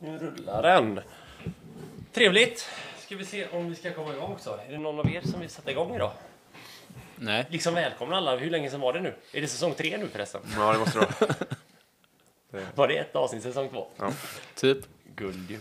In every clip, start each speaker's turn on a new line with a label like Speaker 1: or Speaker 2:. Speaker 1: Nu rullar den. Trevligt. Ska vi se om vi ska komma igång också. Är det någon av er som vill sätta igång idag?
Speaker 2: Nej.
Speaker 1: Liksom välkomna alla. Hur länge sedan var det nu? Är det säsong tre nu förresten?
Speaker 3: Ja, det måste det vara.
Speaker 1: Var det ett avsnitt säsong två?
Speaker 2: Typ.
Speaker 3: Guld ju.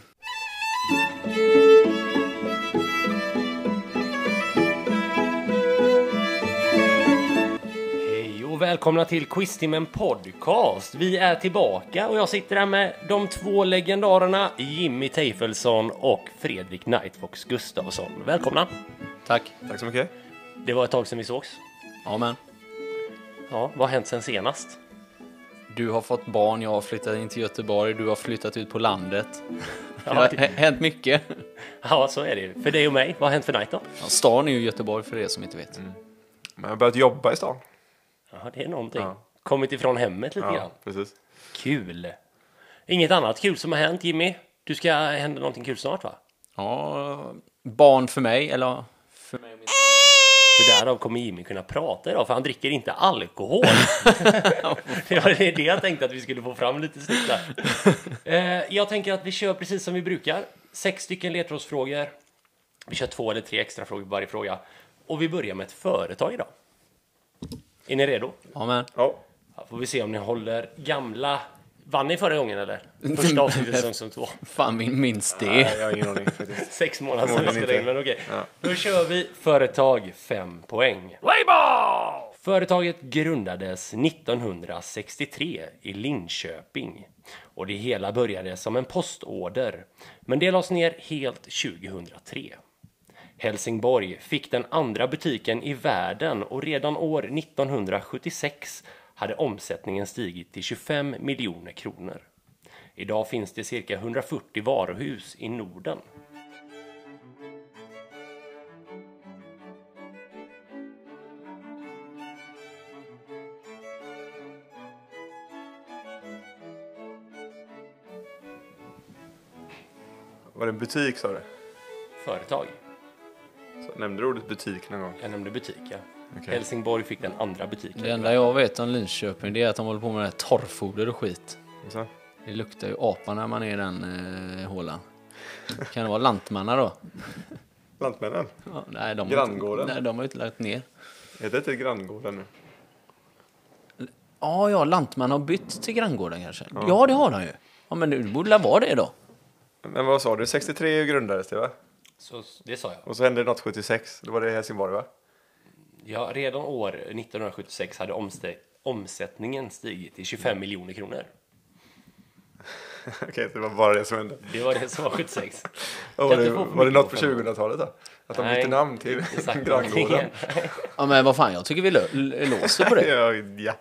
Speaker 1: Hej och välkomna till Quiztimmen Podcast. Vi är tillbaka och jag sitter här med de två legendarerna Jimmy Teifelsson och Fredrik Nightfox Gustafsson. Välkomna!
Speaker 2: Tack.
Speaker 3: Tack så mycket.
Speaker 1: Det var ett tag sedan vi sågs.
Speaker 2: Amen.
Speaker 1: Ja, vad har hänt sen senast?
Speaker 2: Du har fått barn, jag har flyttat in till Göteborg, du har flyttat ut på landet. Det
Speaker 1: Ja,
Speaker 2: har
Speaker 1: det-
Speaker 2: hä- hänt mycket.
Speaker 1: Ja, så är det ju. För dig och mig. Vad har hänt för Night då?
Speaker 2: Ja, Stan är ju Göteborg för er som inte vet.
Speaker 3: Men jag har börjat jobba i stan.
Speaker 1: Ja, det är någonting.
Speaker 3: Ja.
Speaker 1: Kommit ifrån hemmet lite grann.
Speaker 3: precis.
Speaker 1: Kul! Inget annat kul som har hänt, Jimmy? Du ska hända någonting kul snart, va?
Speaker 2: Ja, barn för mig, eller? För mig och min...
Speaker 1: Så därav kommer Jimmy kunna prata idag, för han dricker inte alkohol. det var det det jag tänkte att vi skulle få fram lite snyggt där. Eh, jag tänker att vi kör precis som vi brukar. Sex stycken ledtrådsfrågor. Vi kör två eller tre extra frågor på varje fråga. Och vi börjar med ett företag idag. Är ni redo?
Speaker 2: Amen.
Speaker 3: Ja.
Speaker 1: Ja, får vi se om ni håller gamla... Vann ni förra gången eller? Första avsnittet säsong som två.
Speaker 2: Fan, min minns
Speaker 3: Nej,
Speaker 2: det.
Speaker 3: jag har ingen aning faktiskt.
Speaker 1: Sex månader sedan vi
Speaker 3: Förmodligen
Speaker 1: spelade in,
Speaker 3: inte.
Speaker 1: men okej.
Speaker 3: Ja.
Speaker 1: Då kör vi företag fem poäng.
Speaker 3: Rayball!
Speaker 1: Företaget grundades 1963 i Linköping och det hela började som en postorder, men det lades ner helt 2003. Helsingborg fick den andra butiken i världen och redan år 1976 hade omsättningen stigit till 25 miljoner kronor. Idag finns det cirka 140 varuhus i Norden.
Speaker 3: Var det en butik sa du?
Speaker 1: Företag.
Speaker 3: Så, nämnde du ordet butik någon gång?
Speaker 1: Jag nämnde butik, ja.
Speaker 3: Okej.
Speaker 1: Helsingborg fick den andra butiken.
Speaker 2: Det enda jag vet om Linköping det är att de håller på med det här torrfoder och skit.
Speaker 3: Och så?
Speaker 2: Det luktar ju apa när man är i den eh, hålan. Kan det vara lantmanna då?
Speaker 3: Lantmännen.
Speaker 2: Ja, nej, de
Speaker 3: Granngården.
Speaker 2: Nej, de har ju inte lagt ner.
Speaker 3: Heter det till Granngården nu?
Speaker 2: Ja, ja, Lantman har bytt till granngården kanske. Ja, det har han ju. Ja, men det borde väl vara det då?
Speaker 3: Men vad sa du? 63 grundades det va?
Speaker 1: Så det sa jag.
Speaker 3: Och så hände det något 76. Då var det i Helsingborg va?
Speaker 1: Ja, redan år 1976 hade omste- omsättningen stigit till 25 miljoner kronor.
Speaker 3: Okej, så det var bara det som hände.
Speaker 1: Det var det som var 76.
Speaker 3: Och var
Speaker 1: Kan
Speaker 3: det,
Speaker 1: inte få för
Speaker 3: var det
Speaker 1: mycket
Speaker 3: något på
Speaker 1: på fem år.
Speaker 3: 2000-talet då? Att de
Speaker 1: Nej,
Speaker 3: bytte namn till
Speaker 1: Inte sagt
Speaker 3: Granngården?
Speaker 1: någonting.
Speaker 2: Ja, men vad fan, jag tycker vi lö- l- låser på det.
Speaker 3: Ja, ja.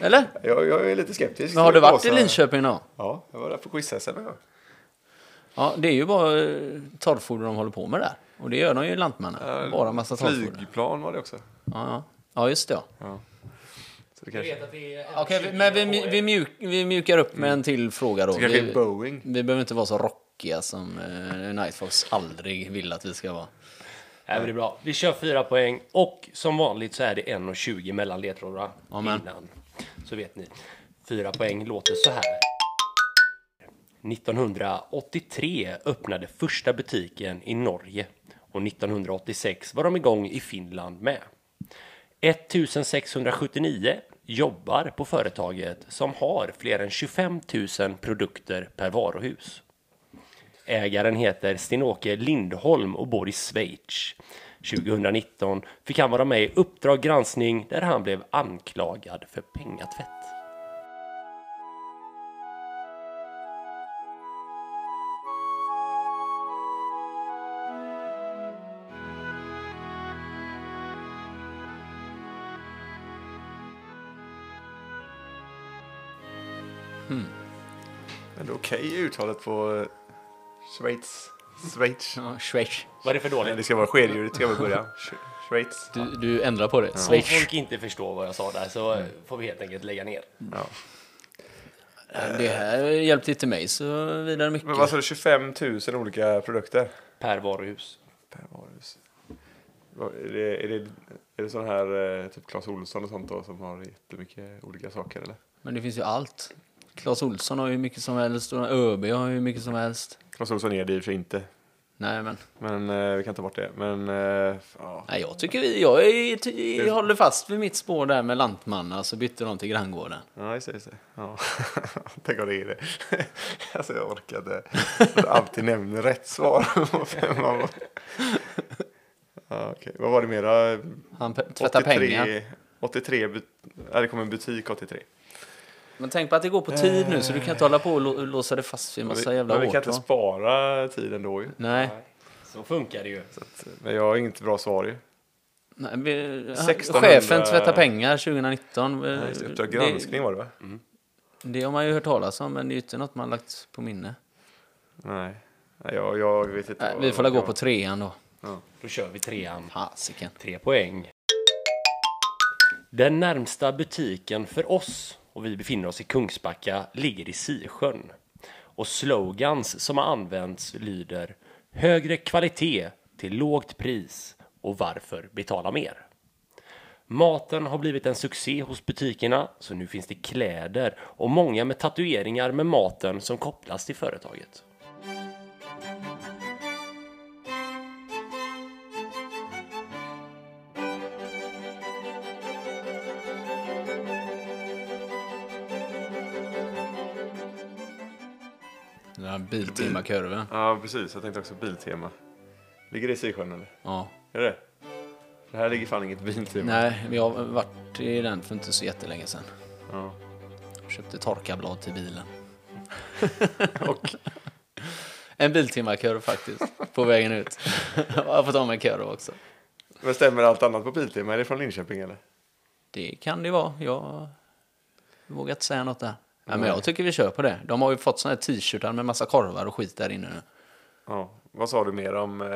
Speaker 2: Eller?
Speaker 3: Jag, jag är lite skeptisk.
Speaker 2: Men har du varit i
Speaker 3: Åsa-
Speaker 2: Linköping då?
Speaker 3: Ja, jag var där på quiz-SM en gång.
Speaker 2: Ja, det är ju bara eh, torrfoder de håller på med där. Och det gör de ju i Lantmanna.
Speaker 3: Eh,
Speaker 2: Bara massa torrfoder.
Speaker 3: Flygplan var det också.
Speaker 2: Ja, ja. ja, just det. Ja.
Speaker 3: Så det kanske,
Speaker 1: att det är
Speaker 2: Okej, vi- men vi, mj- vi, mjuk, vi mjukar upp med en till fråga då.
Speaker 3: Mm. det kanske är
Speaker 2: Vi,
Speaker 3: Boeing.
Speaker 2: vi behöver inte vara så rockiga som eh, Nightfox aldrig vill att vi ska vara.
Speaker 1: Nej, men det är bra. Vi kör fyra poäng och som vanligt så är det 1,20 mellan ledtrådarna
Speaker 2: Amen.
Speaker 1: innan. Så vet ni. Fyra poäng låter så här. 1983 öppnade första butiken i Norge och 1986 var de igång i Finland med. 1679 jobbar på företaget som har fler än 25 000 produkter per varuhus. Ägaren heter Sten-Åke Lindholm och bor i Schweiz. 2019 fick han vara med i Uppdrag granskning där han blev anklagad för pengatvätt.
Speaker 3: Men det är okej uttalet på eh, Schweiz. Schweiz.
Speaker 2: Ja, Schweiz.
Speaker 1: Vad är det för
Speaker 3: Nej,
Speaker 1: dåligt?
Speaker 3: det ska vara skedjuret ska vi börja. Sch- Schweiz.
Speaker 2: Du, du ändrar på det.
Speaker 1: Om
Speaker 2: Schweiz.
Speaker 1: folk inte förstår vad jag sa där så eh, får vi helt enkelt lägga ner.
Speaker 3: Ja.
Speaker 2: Det här hjälpte inte mig så vidare mycket.
Speaker 3: Men vad sa du, 25 000 olika produkter?
Speaker 1: Per varuhus.
Speaker 3: Per varuhus. Vad- Är det, är det, är det sån här eh, typ Clas Ohlson och sånt då som har jättemycket olika saker eller?
Speaker 2: Men det finns ju allt. Claes Olsson har ju hur mycket som helst och ÖB har ju hur mycket som helst.
Speaker 3: Claes Olsson är det i och för sig inte.
Speaker 2: Nej, men
Speaker 3: Men eh, vi kan ta bort det. Men eh, ja.
Speaker 2: nej, jag tycker vi, jag, är, ty- jag håller fast vid mitt spår där med Lantmanna så bytte de till granngården.
Speaker 3: Ja, just det. Just det. Ja. Tänk om det är det. alltså jag orkade. Jag alltid nämner rätt svar. Fem av- ja, okay. Vad var det mera?
Speaker 2: Han pe- tvättar pengar.
Speaker 3: 83, but- ja, det kom en butik 83.
Speaker 2: Men tänk på att det går på tid nu så du kan inte hålla på och lå- låsa dig fast vid en massa
Speaker 3: vi,
Speaker 2: jävla
Speaker 3: men vi kan
Speaker 2: hårt.
Speaker 3: inte
Speaker 2: va?
Speaker 3: spara tiden då ju.
Speaker 2: Nej.
Speaker 1: Så funkar det ju.
Speaker 3: Men jag har inget bra svar
Speaker 2: Eh,
Speaker 3: ju.
Speaker 2: nej vi,
Speaker 3: 1600
Speaker 2: Chefen tvättar pengar 2019.
Speaker 3: Ja, just det. Uppdrag granskning var det va?
Speaker 2: Mm. Det har man ju hört talas om, men det är ju inte något man lagt på minne.
Speaker 3: Nej. Nej, jag, jag vet inte.
Speaker 2: Nej,
Speaker 3: vad-
Speaker 2: vi får la gå
Speaker 3: vad-
Speaker 2: på trean då.
Speaker 1: Då kör vi trean.
Speaker 2: Fasiken.
Speaker 1: Tre poäng. Den närmsta butiken för oss, och vi befinner oss i Kungsbacka, ligger i Sisjön. Och slogans som har använts lyder Högre kvalitet till lågt pris och varför betala mer? Maten har blivit en succé hos butikerna, så nu finns det kläder och många med tatueringar med maten som kopplas till företaget.
Speaker 2: Den här Biltema-kurven.
Speaker 3: Ja, precis. Jag tänkte också biltema. Ligger det i Sisjön eller?
Speaker 2: Ja.
Speaker 3: Är det det? här ligger fan inget biltema.
Speaker 2: Nej, vi har varit i den för inte så jättelänge sedan.
Speaker 3: Ja.
Speaker 2: Köpte torkarblad till bilen.
Speaker 3: Och
Speaker 2: En Biltema-kurv faktiskt, på vägen ut. jag får ta med en kurv också.
Speaker 3: Men stämmer allt annat på Biltema? Är det från Linköping eller?
Speaker 2: Det kan det vara. Jag vågar inte säga något där. Nej, men jag tycker vi kör på det. De har ju fått såna här t-shirtar med massa korvar och skit där inne nu.
Speaker 3: Ja. Vad sa du mer om eh,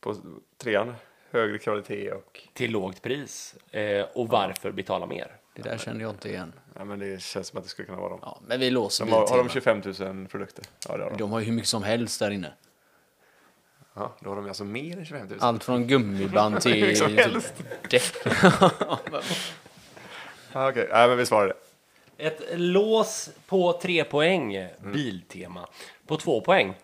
Speaker 3: på trean? Högre kvalitet och...
Speaker 1: Till lågt pris eh, och varför betala mer?
Speaker 2: Det där kände jag inte igen.
Speaker 3: Ja, men det känns som att det skulle kunna vara dem.
Speaker 2: Ja, men vi låser
Speaker 3: De har, har de
Speaker 2: Biltema.
Speaker 3: 25 000 produkter? Ja, det har de.
Speaker 2: De har ju hur mycket som helst där inne.
Speaker 3: Ja, då har de ju alltså mer än 25 000.
Speaker 2: Allt från gummiband till
Speaker 3: Hur som helst.
Speaker 2: typ däck.
Speaker 3: Ah, Okej, Nej, men vi svarar det.
Speaker 1: Ett lås på tre poäng, Biltema. På två poäng.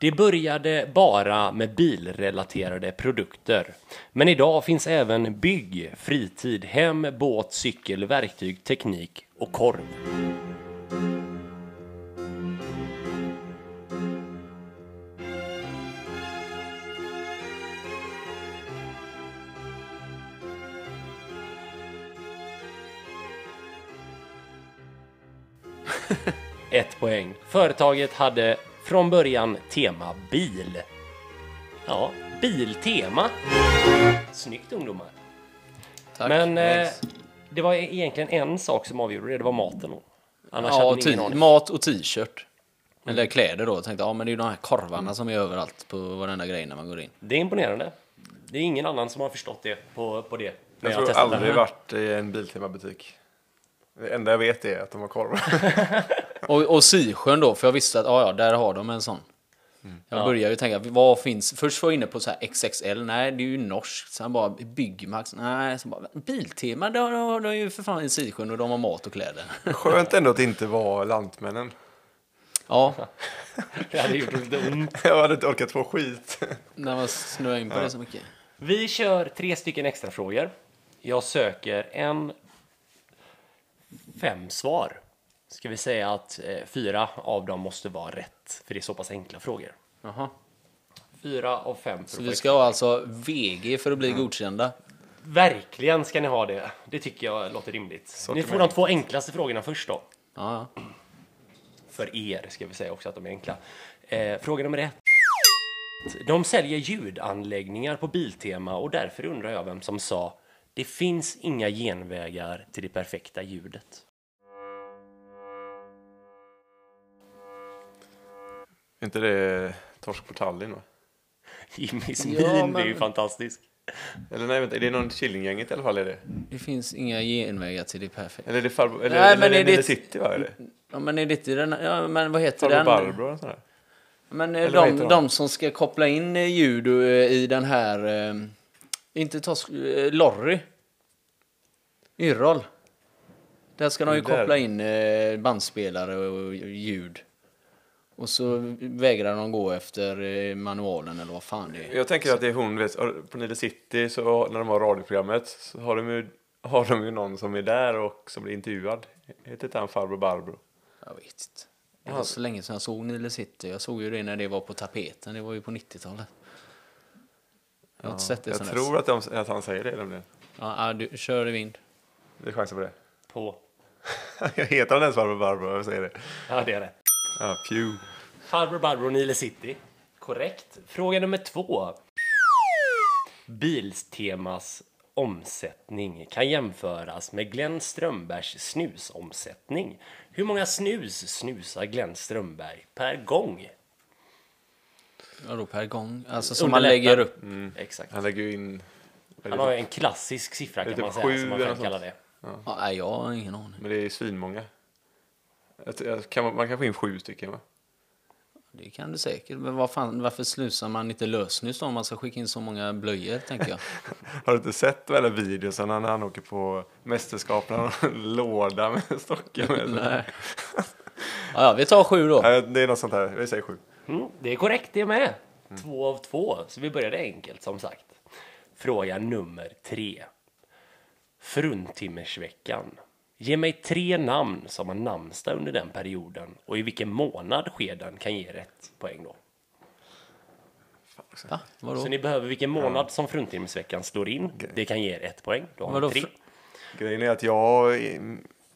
Speaker 1: Det började bara med bilrelaterade produkter. Men idag finns även bygg, fritid, hem, båt, cykel, verktyg, teknik och korv. Ett poäng. Företaget hade från början tema bil. Ja, biltema. Snyggt ungdomar.
Speaker 2: Tack.
Speaker 1: Men eh, det var e- egentligen en sak som avgjorde det, det var maten. då. Annars
Speaker 2: eh, ja, typ.
Speaker 1: hade ni
Speaker 2: ti-
Speaker 1: ingen aning.
Speaker 2: mat och t-shirt. Eller kläder då. Jag tänkte, ja men det är ju de här korvarna som är överallt på varenda grej när man går in.
Speaker 1: Det är imponerande. Det är ingen annan som har förstått det på, på det. när
Speaker 3: Jag
Speaker 1: har
Speaker 3: tror
Speaker 1: testat
Speaker 3: aldrig
Speaker 1: det.
Speaker 3: varit i en Biltema-butik. Det enda jag vet är att de har korvar.
Speaker 2: Och, och Sisjön då, för jag visste att, ja ja, där har de en sån. Jag började ju tänka, vad finns? Först var jag inne på så här XXL, nej det är ju norskt. Sen bara Byggmax, nej. Sen bara, Biltema, där har de ju för fan i Sisjön och de har mat och kläder.
Speaker 3: Skönt ändå att det inte var Lantmännen.
Speaker 2: Ja,
Speaker 1: Det hade gjort lite ont.
Speaker 3: Jag hade inte orkat få skit.
Speaker 2: när man snöar in på det så mycket.
Speaker 1: Vi kör tre stycken extra frågor. Jag söker en... Fem svar. Ska vi säga att eh, fyra av dem måste vara rätt, för det är så pass enkla frågor.
Speaker 2: Jaha.
Speaker 1: Fyra av fem. för
Speaker 2: Så
Speaker 1: att
Speaker 2: vi
Speaker 1: få-
Speaker 2: ska ha alltså VG för att bli godkända.
Speaker 1: Verkligen ska ni ha det. Det tycker jag låter rimligt. ni får de två enklaste frågorna först då.
Speaker 2: Ja, ja.
Speaker 1: För er ska vi säga också att de är enkla. Eh, fråga nummer ett. De säljer ljudanläggningar på Biltema och därför undrar jag vem som sa det finns inga genvägar till det perfekta ljudet.
Speaker 3: inte det torsk på Tallinn va?
Speaker 1: Jimmys
Speaker 2: Ja,
Speaker 1: min, det är ju
Speaker 2: men-
Speaker 1: fantastisk.
Speaker 3: Eller nej, vänta, är det någon Killinggänget i alla fall? Är det?
Speaker 2: Det finns inga genvägar till det perfekta.
Speaker 3: Eller är det Farbror... Eller,
Speaker 2: Nej,
Speaker 3: eller
Speaker 2: men
Speaker 3: är det
Speaker 2: är det-
Speaker 3: Nile City va? Är det?
Speaker 2: Ja, men är det inte den? Ja, men vad heter
Speaker 3: Farbror
Speaker 2: den?
Speaker 3: Barbro och sån där?
Speaker 2: Men eh,
Speaker 3: Eller vad
Speaker 2: de,
Speaker 3: heter
Speaker 2: de?
Speaker 3: de?
Speaker 2: som ska koppla in eh, ljud och, eh, i den här... Eh, inte Tosk... Eh, Lorry. Yrrol. Där ska de ju
Speaker 3: Det där.
Speaker 2: koppla in eh, bandspelare och ljud. Och så vägrar de gå efter eh, manualen eller vad fan det är.
Speaker 3: Jag tänker att det är hon, vet, på Nile City, så när de har radioprogrammet, så har de ju, har de ju någon som är där och som blir intervjuad. Heter inte han farbror Barbro?
Speaker 2: Jag vet inte. Det var så länge sedan jag såg Nile City. Jag såg ju det när det var på tapeten. Det var ju på 90-talet. Jag har inte sett det
Speaker 3: Jag
Speaker 2: sedan
Speaker 3: tror att, de, att han säger det nämligen.
Speaker 2: dess. Ja, ja, du, kör i vind.
Speaker 3: Vi chansar på det.
Speaker 1: På.
Speaker 3: Jag heter han ens farbror Barbro? Jag säger det.
Speaker 1: Ja, det är rätt.
Speaker 3: Ja, pew.
Speaker 1: Farbror Barbro Nile City. Korrekt. Fråga nummer två. Bilstemas omsättning kan jämföras med Glenn Strömbergs snusomsättning. Hur många snus snusar Glenn Strömberg per gång?
Speaker 2: Vadå per gång? Alltså som man
Speaker 1: Underlättar.
Speaker 2: lägger upp.
Speaker 3: Mm.
Speaker 1: Exakt.
Speaker 3: Han lägger ju in...
Speaker 1: Han har ju en klassisk siffra
Speaker 3: typ Det är
Speaker 1: kan man
Speaker 3: typ
Speaker 1: säga
Speaker 3: sju
Speaker 1: som man
Speaker 3: eller
Speaker 1: kan
Speaker 3: något
Speaker 1: kalla
Speaker 3: sånt.
Speaker 1: det.
Speaker 2: Ja, nej, jag har ingen aning.
Speaker 3: Men det är svinmånga. Jag tror- jag- Kan man, man kan få in sju stycken va?
Speaker 2: Det kan du säkert. Men vad fan, varför slusar man inte lösnus då om man ska skicka in så många blöjor, tänker jag.
Speaker 3: Har du inte sett de här videorna när han åker på mästerskapen? Han har en låda med stocken med sig.
Speaker 2: Nej. Ja, ja, vi tar sju då.
Speaker 3: Nej, Det är något sånt här. Vi säger sju.
Speaker 1: Mm, det är korrekt det med.
Speaker 2: Mm.
Speaker 1: Två av två, så vi började enkelt som sagt. Fråga nummer tre. Fruntimmersveckan. Ge mig tre namn som har namnsdag under den perioden och i vilken månad sker den kan ge rätt poäng då.
Speaker 2: Va? Vadå?
Speaker 1: Så ni behöver vilken månad som fruntimmersveckan slår in. Det kan ge er ett poäng. Då har
Speaker 2: Vadå
Speaker 1: ni tre.
Speaker 2: fr-
Speaker 3: Grejen är att jag,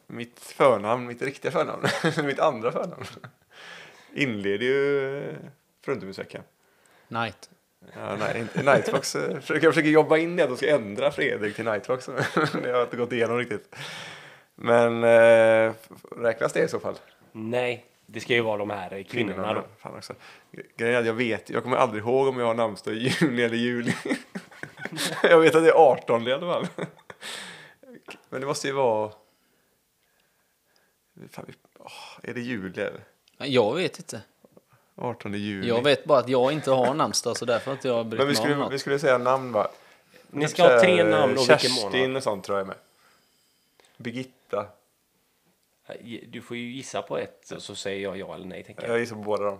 Speaker 3: mitt förnamn, mitt riktiga förnamn, mitt andra förnamn, inleder ju fruntimmersveckan.
Speaker 2: Night.
Speaker 3: Ja, nej, inte Nightfox. eh, försöker- Jag försöker jobba in det att de ska ändra Fredrik till Nightfox. men det har jag inte gått igenom riktigt. Men eh, räknas det i så fall?
Speaker 1: Nej, det ska ju vara de här kvinnorna då.
Speaker 3: Fan också. Gre- Grejen är att jag vet, jag kommer aldrig ihåg om jag har namnsdag i juni eller juli. jag vet att det är 18 i alla fall. Men det måste ju vara... Fan, vi... åh, är det juli eller?
Speaker 2: Nej, Jag vet inte.
Speaker 3: 18 juli.
Speaker 2: Jag vet bara att jag inte har namnsdag så därför har inte jag brytt
Speaker 3: Men vi
Speaker 2: mig om
Speaker 3: skulle,
Speaker 2: något.
Speaker 3: vi skulle säga namn va?
Speaker 1: Ni ska ha tre namn och vilken
Speaker 3: Kerstin
Speaker 1: månad.
Speaker 3: och sånt tror jag är med. Birgitta.
Speaker 1: Du får ju gissa på ett och så säger jag ja eller nej. Tänker jag.
Speaker 3: Jag gissar på båda dem.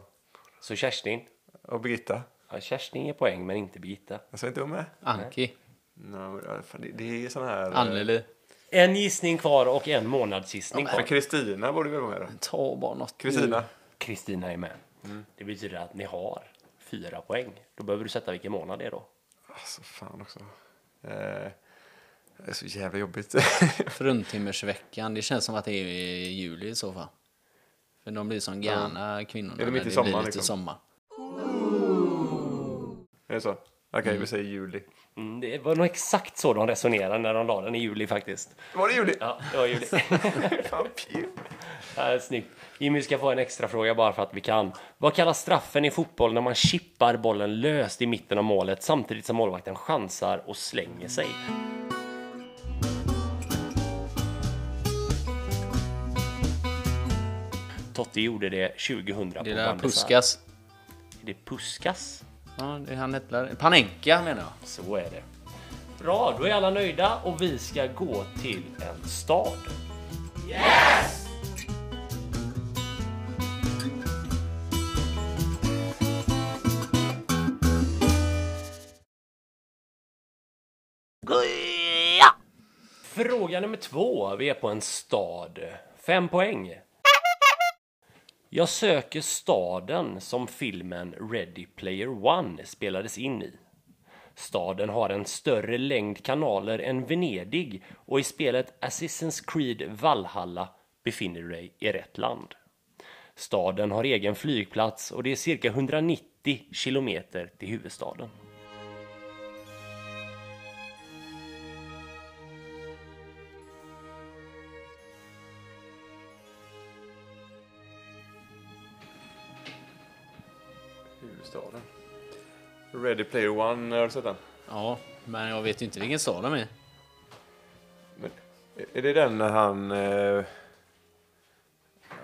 Speaker 1: Så Kerstin.
Speaker 3: Och Birgitta.
Speaker 1: Ja, Kerstin ger poäng, men inte Birgitta.
Speaker 3: Jag sa inte hon med?
Speaker 2: Anki.
Speaker 3: No, men, fan, det, det är sån här... eh,
Speaker 2: Anneli.
Speaker 1: En gissning kvar och en månadsgissning
Speaker 3: Men
Speaker 1: kvar.
Speaker 3: Kristina borde väl vara med då?
Speaker 2: Ta bara något.
Speaker 3: Kristina.
Speaker 1: Mm. Kristina är med. Det betyder att ni har fyra poäng. Då behöver du sätta vilken månad det är då.
Speaker 3: Alltså fan också. Eh, det är så jävla jobbigt.
Speaker 2: nu. Fruntimmersveckan. Det känns som att det är i juli i så fall. För de blir som gärna kvinnorna.
Speaker 3: Är det mitt
Speaker 2: när
Speaker 3: i sommaren,
Speaker 2: blir lite
Speaker 3: liksom?
Speaker 2: sommar.
Speaker 3: är det så? Okej, vi säger juli.
Speaker 1: Mm, det var nog exakt så de resonerade när de la den i juli faktiskt.
Speaker 3: Var det juli?
Speaker 1: Ja, det var juli.
Speaker 3: Fan, pju.
Speaker 1: ja, Äh, snyggt. Jimmy ska få en extra fråga bara för att vi kan. Vad kallas straffen i fotboll när man chippar bollen löst i mitten av målet samtidigt som målvakten chansar och slänger sig? Totti gjorde det 2000 på
Speaker 2: Det är där
Speaker 1: Bandesar.
Speaker 2: Puskas.
Speaker 1: Det Puskas.
Speaker 2: Ja, det är han heter. Panenka menar jag.
Speaker 1: Så är det. Bra, då är alla nöjda och vi ska gå till en stad. Yes! Fråga nummer två. Vi är på en stad. Fem poäng. Jag söker staden som filmen Ready Player One spelades in i. Staden har en större längd kanaler än Venedig och i spelet Assassin's Creed Valhalla befinner du dig i rätt land. Staden har egen flygplats och det är cirka 190 kilometer till huvudstaden.
Speaker 3: Huvudstaden. Ready Player One, har du sett den?
Speaker 2: Ja, men jag vet ju inte vilken stad de är.
Speaker 3: Men, är det den när han... Eh,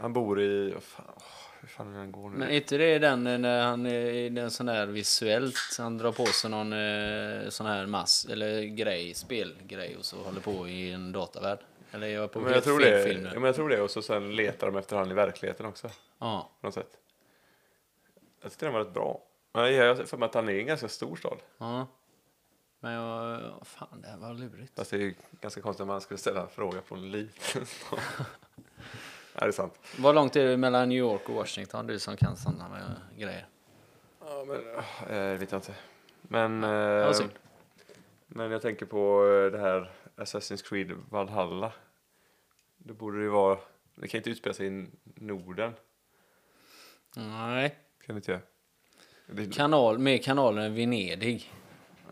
Speaker 3: han bor i... vad fan, åh, hur fan är den han går nu?
Speaker 2: Men är inte det den eh, när han är i den sån här visuellt, han drar på sig någon eh, sån här mass eller grej, spelgrej och så håller på i en datavärld? Eller jag är på
Speaker 3: Men jag,
Speaker 2: helt
Speaker 3: tror
Speaker 2: fel
Speaker 3: det,
Speaker 2: film
Speaker 3: ja,
Speaker 2: nu.
Speaker 3: men jag tror det. Och så sen letar de efter han i verkligheten också.
Speaker 2: Ja.
Speaker 3: På något sätt. Jag tyckte den var rätt bra. Men jag har för mig att han är en ganska stor stad.
Speaker 2: ja. Men jag... Fan, det här var lurigt.
Speaker 3: Fast det är ju ganska konstigt om man skulle ställa en fråga på en liten stad. Nej, det är sant.
Speaker 2: Vad långt är det mellan New York och Washington? Du som kan sådana med grejer.
Speaker 3: Ja, men, eh, det vet jag inte. Men,
Speaker 2: det var
Speaker 3: eh,
Speaker 2: synd.
Speaker 3: men jag tänker på eh, det här Assassin's Creed Valhalla. Det borde ju vara... Det kan inte utspela sig i Norden.
Speaker 2: Nej.
Speaker 3: Kan det inte göra. Det,
Speaker 2: Kanal, mer kanaler än Venedig.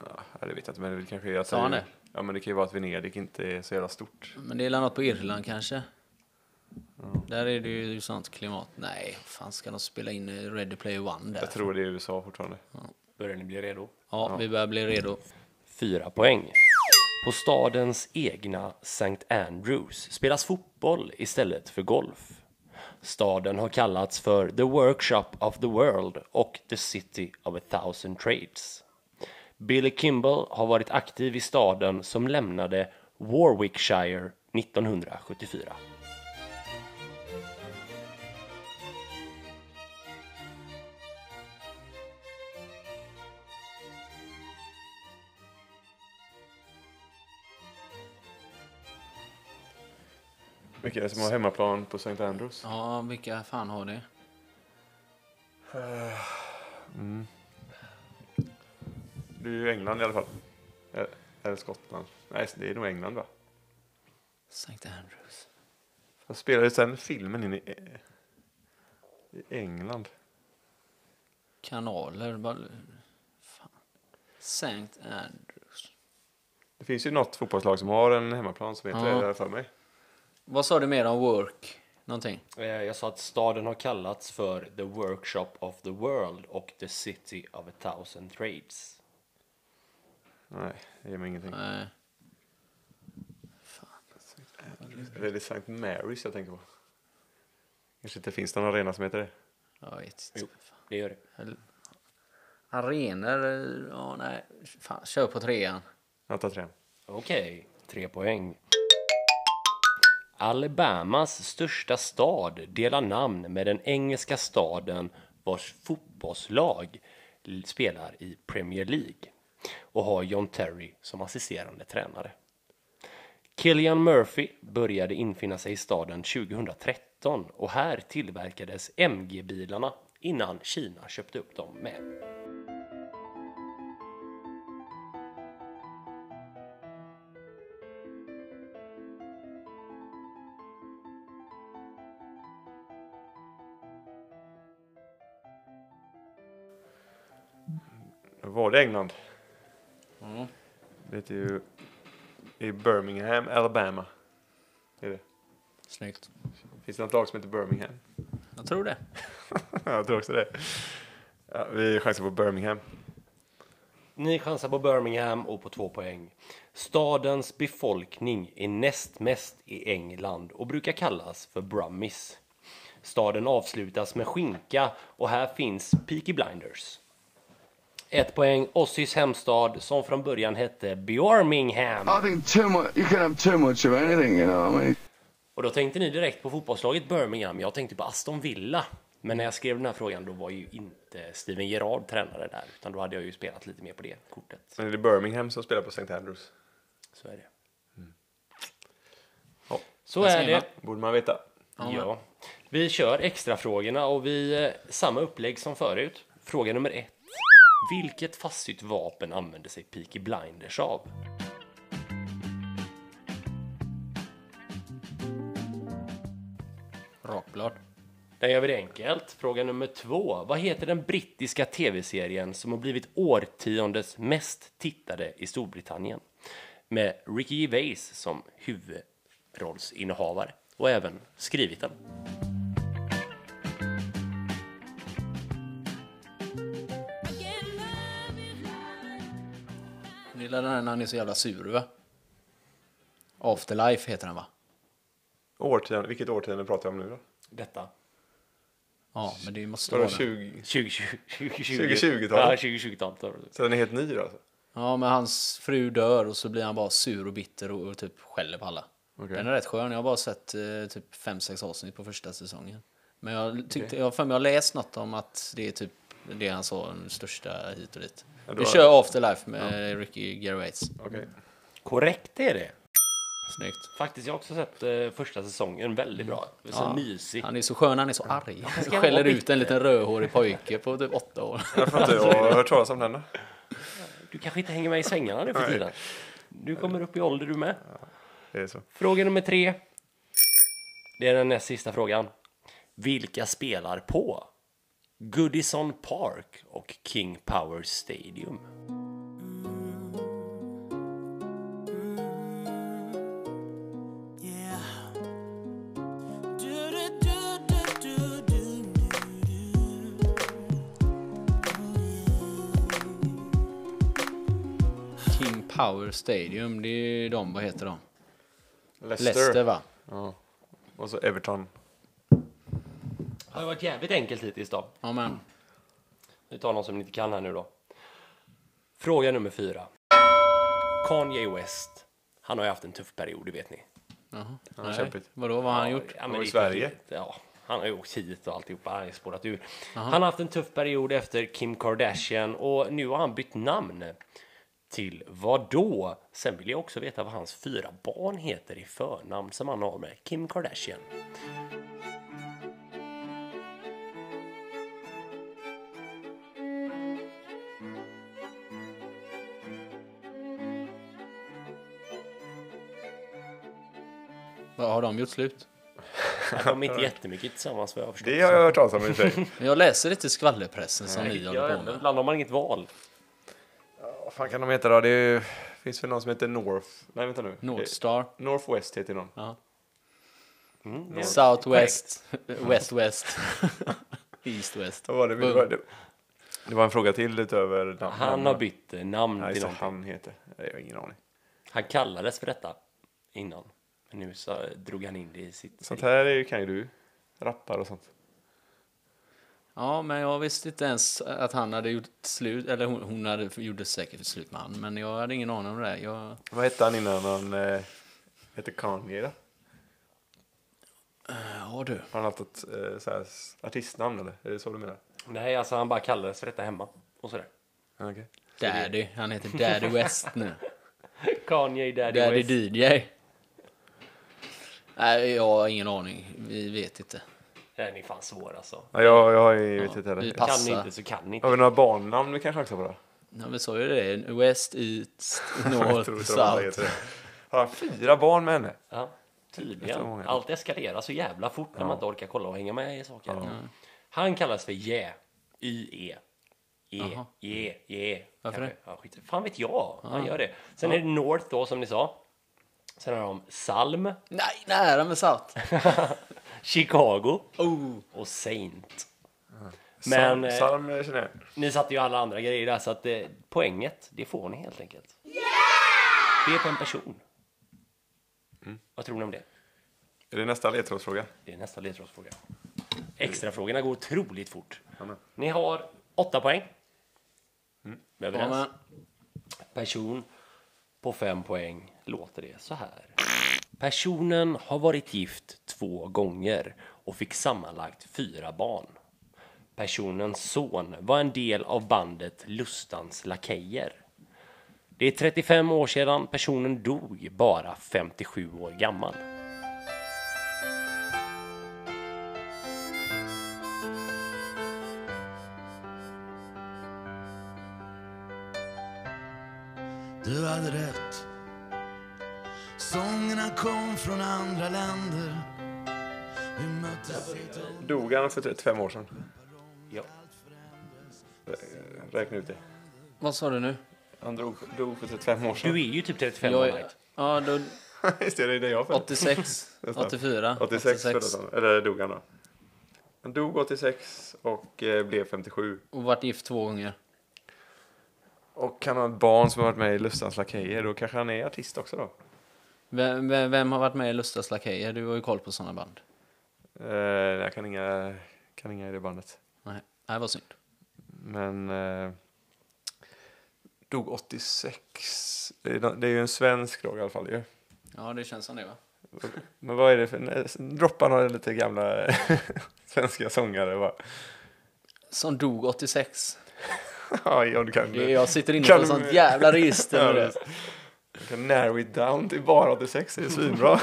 Speaker 3: ja, det vet jag inte, men det vill kanske är att...
Speaker 2: Sa han det?
Speaker 3: Ja, men det kan ju vara att Venedig inte är så jävla stort.
Speaker 2: Men det är väl något på Irland kanske? Där är det ju sånt klimat. Nej, fan ska de spela in eh, Ready Player One där?
Speaker 3: Jag tror det är USA fortfarande.
Speaker 1: Börjar ni bli redo?
Speaker 2: Ja, vi börjar bli redo.
Speaker 1: Fyra poäng. På stadens egna St. Andrews spelas fotboll istället för golf. Staden har kallats för The Workshop of the World och The City of a Thousand Trades. Billy Kimball har varit aktiv i staden som lämnade Warwickshire 1974.
Speaker 3: Vilka är det som har hemmaplan på St. Andrews?
Speaker 2: Ja, vilka fan har det?
Speaker 3: Det är ju England i alla fall. Eh, Eller Skottland. Nej, det är nog England va?
Speaker 2: St. Andrews.
Speaker 3: Jag spelade sen filmen in i, eh, i England.
Speaker 2: Kanaler. Bara... Fan. St. Andrews.
Speaker 3: Det finns ju något fotbollslag som har en hemmaplan som heter
Speaker 2: Ja.
Speaker 3: det där för mig.
Speaker 2: Vad sa du mer om work? Någonting?
Speaker 1: Eh, Jag sa att staden har kallats för The Workshop of the World och The City of a Thousand Trades.
Speaker 3: Nej, det ger mig ingenting.
Speaker 2: Nej.
Speaker 3: Det är det St. Mary's jag tänker på. Kanske inte finns någon arena som heter det.
Speaker 2: Jag vet
Speaker 1: Jo,
Speaker 2: inte. Fan.
Speaker 1: det gör det.
Speaker 2: Eller- Arenor? eh, Ja, nej. Fan, kör på trean.
Speaker 3: Jag tar trean.
Speaker 1: Okej, tre poäng. Alabamas största stad delar namn med den engelska staden vars fotbollslag l- spelar i Premier League och har John Terry som assisterande tränare. Killian Murphy började infinna sig i staden 2013 och här tillverkades MG-bilarna innan Kina köpte upp dem med.
Speaker 3: Då var det England.
Speaker 2: Ja.
Speaker 3: Det heter ju i Birmingham, Alabama. Det är det.
Speaker 2: Snyggt.
Speaker 3: Finns det något lag som heter Birmingham?
Speaker 2: Jag tror det.
Speaker 3: jag tror också det. Ja, vi chansar på Birmingham.
Speaker 1: Ni chansar på Birmingham och på två poäng. Stadens befolkning är näst mest i England och brukar kallas för Brummies. Staden avslutas med skinka och här finns Peaky Blinders. Ett poäng, Ossis hemstad som från början hette Birmingham.
Speaker 4: I think too much. You can have too much of anything, you know. what I mean,
Speaker 1: Och då tänkte ni direkt på fotbollslaget Birmingham. Jag tänkte på Aston Villa. Men när jag skrev den här frågan då var ju inte Steven Gerrard tränare där utan då hade jag ju spelat lite mer på det kortet.
Speaker 3: Men är det Birmingham som spelar på St. Andrews?
Speaker 1: Så är det.
Speaker 3: Ja,
Speaker 1: Så
Speaker 2: Där ser
Speaker 1: är det.
Speaker 2: man.
Speaker 3: borde man veta.
Speaker 1: Ja. Vi kör extrafrågorna och vi, eh, samma upplägg som förut. Fråga nummer ett. Vilket fastsytt vapen använde sig Peaky Blinders av?
Speaker 2: Rakblad.
Speaker 1: Där gör vi det enkelt. Fråga nummer två. Vad heter den brittiska tv-serien som har blivit årtiondets mest tittade i Storbritannien? Med Ricky Gervais som huvudrollsinnehavare och även skrivit den.
Speaker 2: Det är den här när han är så jävla sur va? Afterlife heter den va?
Speaker 3: Årtionde, vilket årtionde pratar jag om nu då?
Speaker 1: Detta.
Speaker 2: Ja, men det måste
Speaker 3: Var
Speaker 2: vara
Speaker 3: det
Speaker 2: den.
Speaker 3: 20?
Speaker 1: 2020
Speaker 3: 2020-talet.
Speaker 1: Ja, 2020-talet.
Speaker 3: Så den är helt ny då? Alltså.
Speaker 2: Ja, men hans fru dör och så blir han bara sur och bitter och, och typ skäller på alla.
Speaker 3: Okej.
Speaker 2: Den är rätt skön. Jag har bara sett eh, typ 5-6 avsnitt på första säsongen. Men jag tyckte, jag har för mig jag har läst något om att det är typ det han sa, den största hit och dit.
Speaker 3: Ja, då
Speaker 2: Vi
Speaker 3: är-
Speaker 2: kör Afterlife med eh, Ricky Gervais.
Speaker 3: Okej.
Speaker 1: Korrekt är det.
Speaker 2: Snyggt.
Speaker 1: Faktiskt, jag har också sett eh, första säsongen väldigt bra. Så
Speaker 2: Ja.
Speaker 1: mysig.
Speaker 2: Han är så skön, han är så arg.
Speaker 1: ska
Speaker 2: Han skäller
Speaker 1: vara
Speaker 2: ut en liten rödhårig pojke på typ åtta år.
Speaker 3: Jag tror inte jag har hört talas om den. då.
Speaker 1: Du kanske inte hänger med i svängarna nu för
Speaker 3: Nej.
Speaker 1: tiden. Du kommer upp i ålder du med.
Speaker 3: Det är så.
Speaker 1: Fråga nummer tre. Det är den näst sista frågan. Vilka spelar på Goodison Park och King Power Stadium?
Speaker 5: Yeah. Do do do do do do do do.
Speaker 2: King Power Stadium, det är ju de, vad heter de?
Speaker 3: Leicester.
Speaker 2: Leicester va?
Speaker 3: Ja. Och så Everton.
Speaker 1: Det har varit jävligt enkelt hittills då.
Speaker 2: Ja men.
Speaker 1: Vi tar någon som ni inte kan här nu då. Fråga nummer fyra. Kanye West. Han har ju haft en tuff period, det vet ni.
Speaker 2: Jaha.
Speaker 3: Ja,
Speaker 2: Nej.
Speaker 3: kämpigt.
Speaker 2: Vadå, vad har han gjort?
Speaker 1: Ja,
Speaker 3: Och i
Speaker 1: det-
Speaker 3: Sverige?
Speaker 1: Ja, han har ju åkt hit och alltihopa. Han har ju spårat ur. Han har haft en tuff period efter Kim Kardashian och nu har han bytt namn. Till vad då? Sen vill jag också veta vad hans fyra barn heter i förnamn som han har med Kim Kardashian.
Speaker 2: Vad har de gjort slut?
Speaker 1: Ja, De är inte jättemycket tillsammans vad jag förstår.
Speaker 3: Det har jag hört talas om i och för sig.
Speaker 2: Jag läser lite skvallerpressen som ni
Speaker 1: Ja,
Speaker 2: håller på med.
Speaker 1: Ibland har man inget val.
Speaker 3: Vad fan kan de heta då? Det är ju... finns väl någon som heter North? Nej, vänta nu.
Speaker 2: Northstar,
Speaker 3: Eh, Northwest heter någon.
Speaker 1: Mm, det-
Speaker 2: Southwest, West West, East West.
Speaker 3: Vad var det? Det var, det, det var en fråga till utöver namn.
Speaker 1: Han har bytt eh, namn
Speaker 3: Nej,
Speaker 1: till
Speaker 3: just
Speaker 1: någonting.
Speaker 3: det,
Speaker 1: Han.
Speaker 3: han heter. Nej, Jag har ingen aning.
Speaker 1: kallades för detta innan. Men nu så drog han in det i sitt...
Speaker 3: Sånt här är ju, kan ju du. Rappar och sånt.
Speaker 2: Ja, men jag visste inte ens att han hade gjort slut, eller hon, hon hade, gjorde säkert slut med han, men jag hade ingen aning om det. där. Jag,
Speaker 3: Vad hette han innan han eh, hette Kanye då?
Speaker 2: ja du.
Speaker 3: Har han haft ett eh, så här, s- artistnamn eller? Är det så du menar?
Speaker 1: Nej, alltså han bara kallades för detta hemma. Och sådär.
Speaker 3: Ja, okej.
Speaker 2: Daddy, han heter Daddy West nu.
Speaker 1: Kanye Daddy,
Speaker 2: Daddy
Speaker 1: West.
Speaker 2: DJ. Nej, jag har ingen aning. Vi vet inte.
Speaker 1: Den är fan svår alltså.
Speaker 3: Ja, jag, jag har ju vet inte
Speaker 2: vi
Speaker 3: heller.
Speaker 2: passar.
Speaker 1: Kan ni inte så kan ni inte.
Speaker 3: Har vi några barnnamn vi kan chansa på då?
Speaker 2: Ja, vi sa ju det. West, East,
Speaker 3: Jag tror
Speaker 2: North,
Speaker 3: inte de alla
Speaker 2: South.
Speaker 3: heter det. Har han fyra barn med henne?
Speaker 1: Ja,
Speaker 3: Det är så
Speaker 1: tydligen.
Speaker 3: många.
Speaker 1: Allt eskalerar så jävla fort när man inte orkar kolla och hänga med i saker. Mm. Han kallas för Jä. Y-E. E,
Speaker 2: Jaha.
Speaker 1: E, E.
Speaker 2: Varför
Speaker 1: kanske.
Speaker 2: det?
Speaker 1: Ja, skit. Fan vet jag. Han gör det. Sen är det North då som ni sa. Sen har de Salm,
Speaker 2: Nej, nära med South.
Speaker 1: Chicago
Speaker 2: Oh.
Speaker 1: och Saint. Men
Speaker 3: Salm,
Speaker 1: eh,
Speaker 3: Salm eh, känner jag.
Speaker 1: ni satte ju alla andra grejer där så att eh, poänget, det får ni helt enkelt. Det är på en person. Vad tror ni om det?
Speaker 3: Är det nästa ledtrådsfråga?
Speaker 1: Det är nästa ledtrådsfråga. Extrafrågorna går otroligt fort.
Speaker 3: Amen.
Speaker 1: Ni har åtta poäng. Vi är
Speaker 2: Ja,
Speaker 1: överens.
Speaker 2: men,
Speaker 1: Person på fem poäng låter det så här. Personen har varit gift två gånger och fick sammanlagt fyra barn. Personens son var en del av bandet Lustans Lakejer. Det är 35 år sedan personen dog, bara 57 år gammal.
Speaker 5: Du hade rätt. Sångerna kom från andra länder. Vi möttes i ett
Speaker 3: Dog han för 35 år sedan?
Speaker 1: Ja.
Speaker 3: Rä- Eh, Räkna ut det.
Speaker 2: vad sa du nu?
Speaker 3: Han drog, dog för 35 år
Speaker 1: Du
Speaker 3: sedan.
Speaker 1: är ju typ 35 år.
Speaker 2: Jag,
Speaker 1: Mike.
Speaker 2: ja, då,
Speaker 3: Visst är det det jag föddes?
Speaker 2: 86, 84,
Speaker 3: 86 föddes han. Eller dog han då? Han dog 86 och eh, blev 57.
Speaker 2: Och varit gift två gånger.
Speaker 3: Och kan ha ett barn som har varit med i Lustans Lakejer, då kanske han är artist också då?
Speaker 2: Vem, vem, vem har varit med i Lustas Lakejer? Du har ju koll på sådana band.
Speaker 3: Eh, jag kan inga, kan inga i det bandet.
Speaker 2: Nej, nej vad synd.
Speaker 3: Men... Eh, dog 86. Det är, det är ju en svensk då i alla fall ju.
Speaker 2: Ja, det känns som det va?
Speaker 3: Men vad är det för... nej, Droppa några lite gamla svenska sångare bara.
Speaker 2: Som dog 86.
Speaker 3: Ja, John Kander.
Speaker 2: Jag sitter inne
Speaker 3: Kan
Speaker 2: på ett
Speaker 3: du-
Speaker 2: sånt jävla register med
Speaker 3: Ja,
Speaker 2: det.
Speaker 3: visst. Jag kan narrow it down till bara 86, det är svinbra.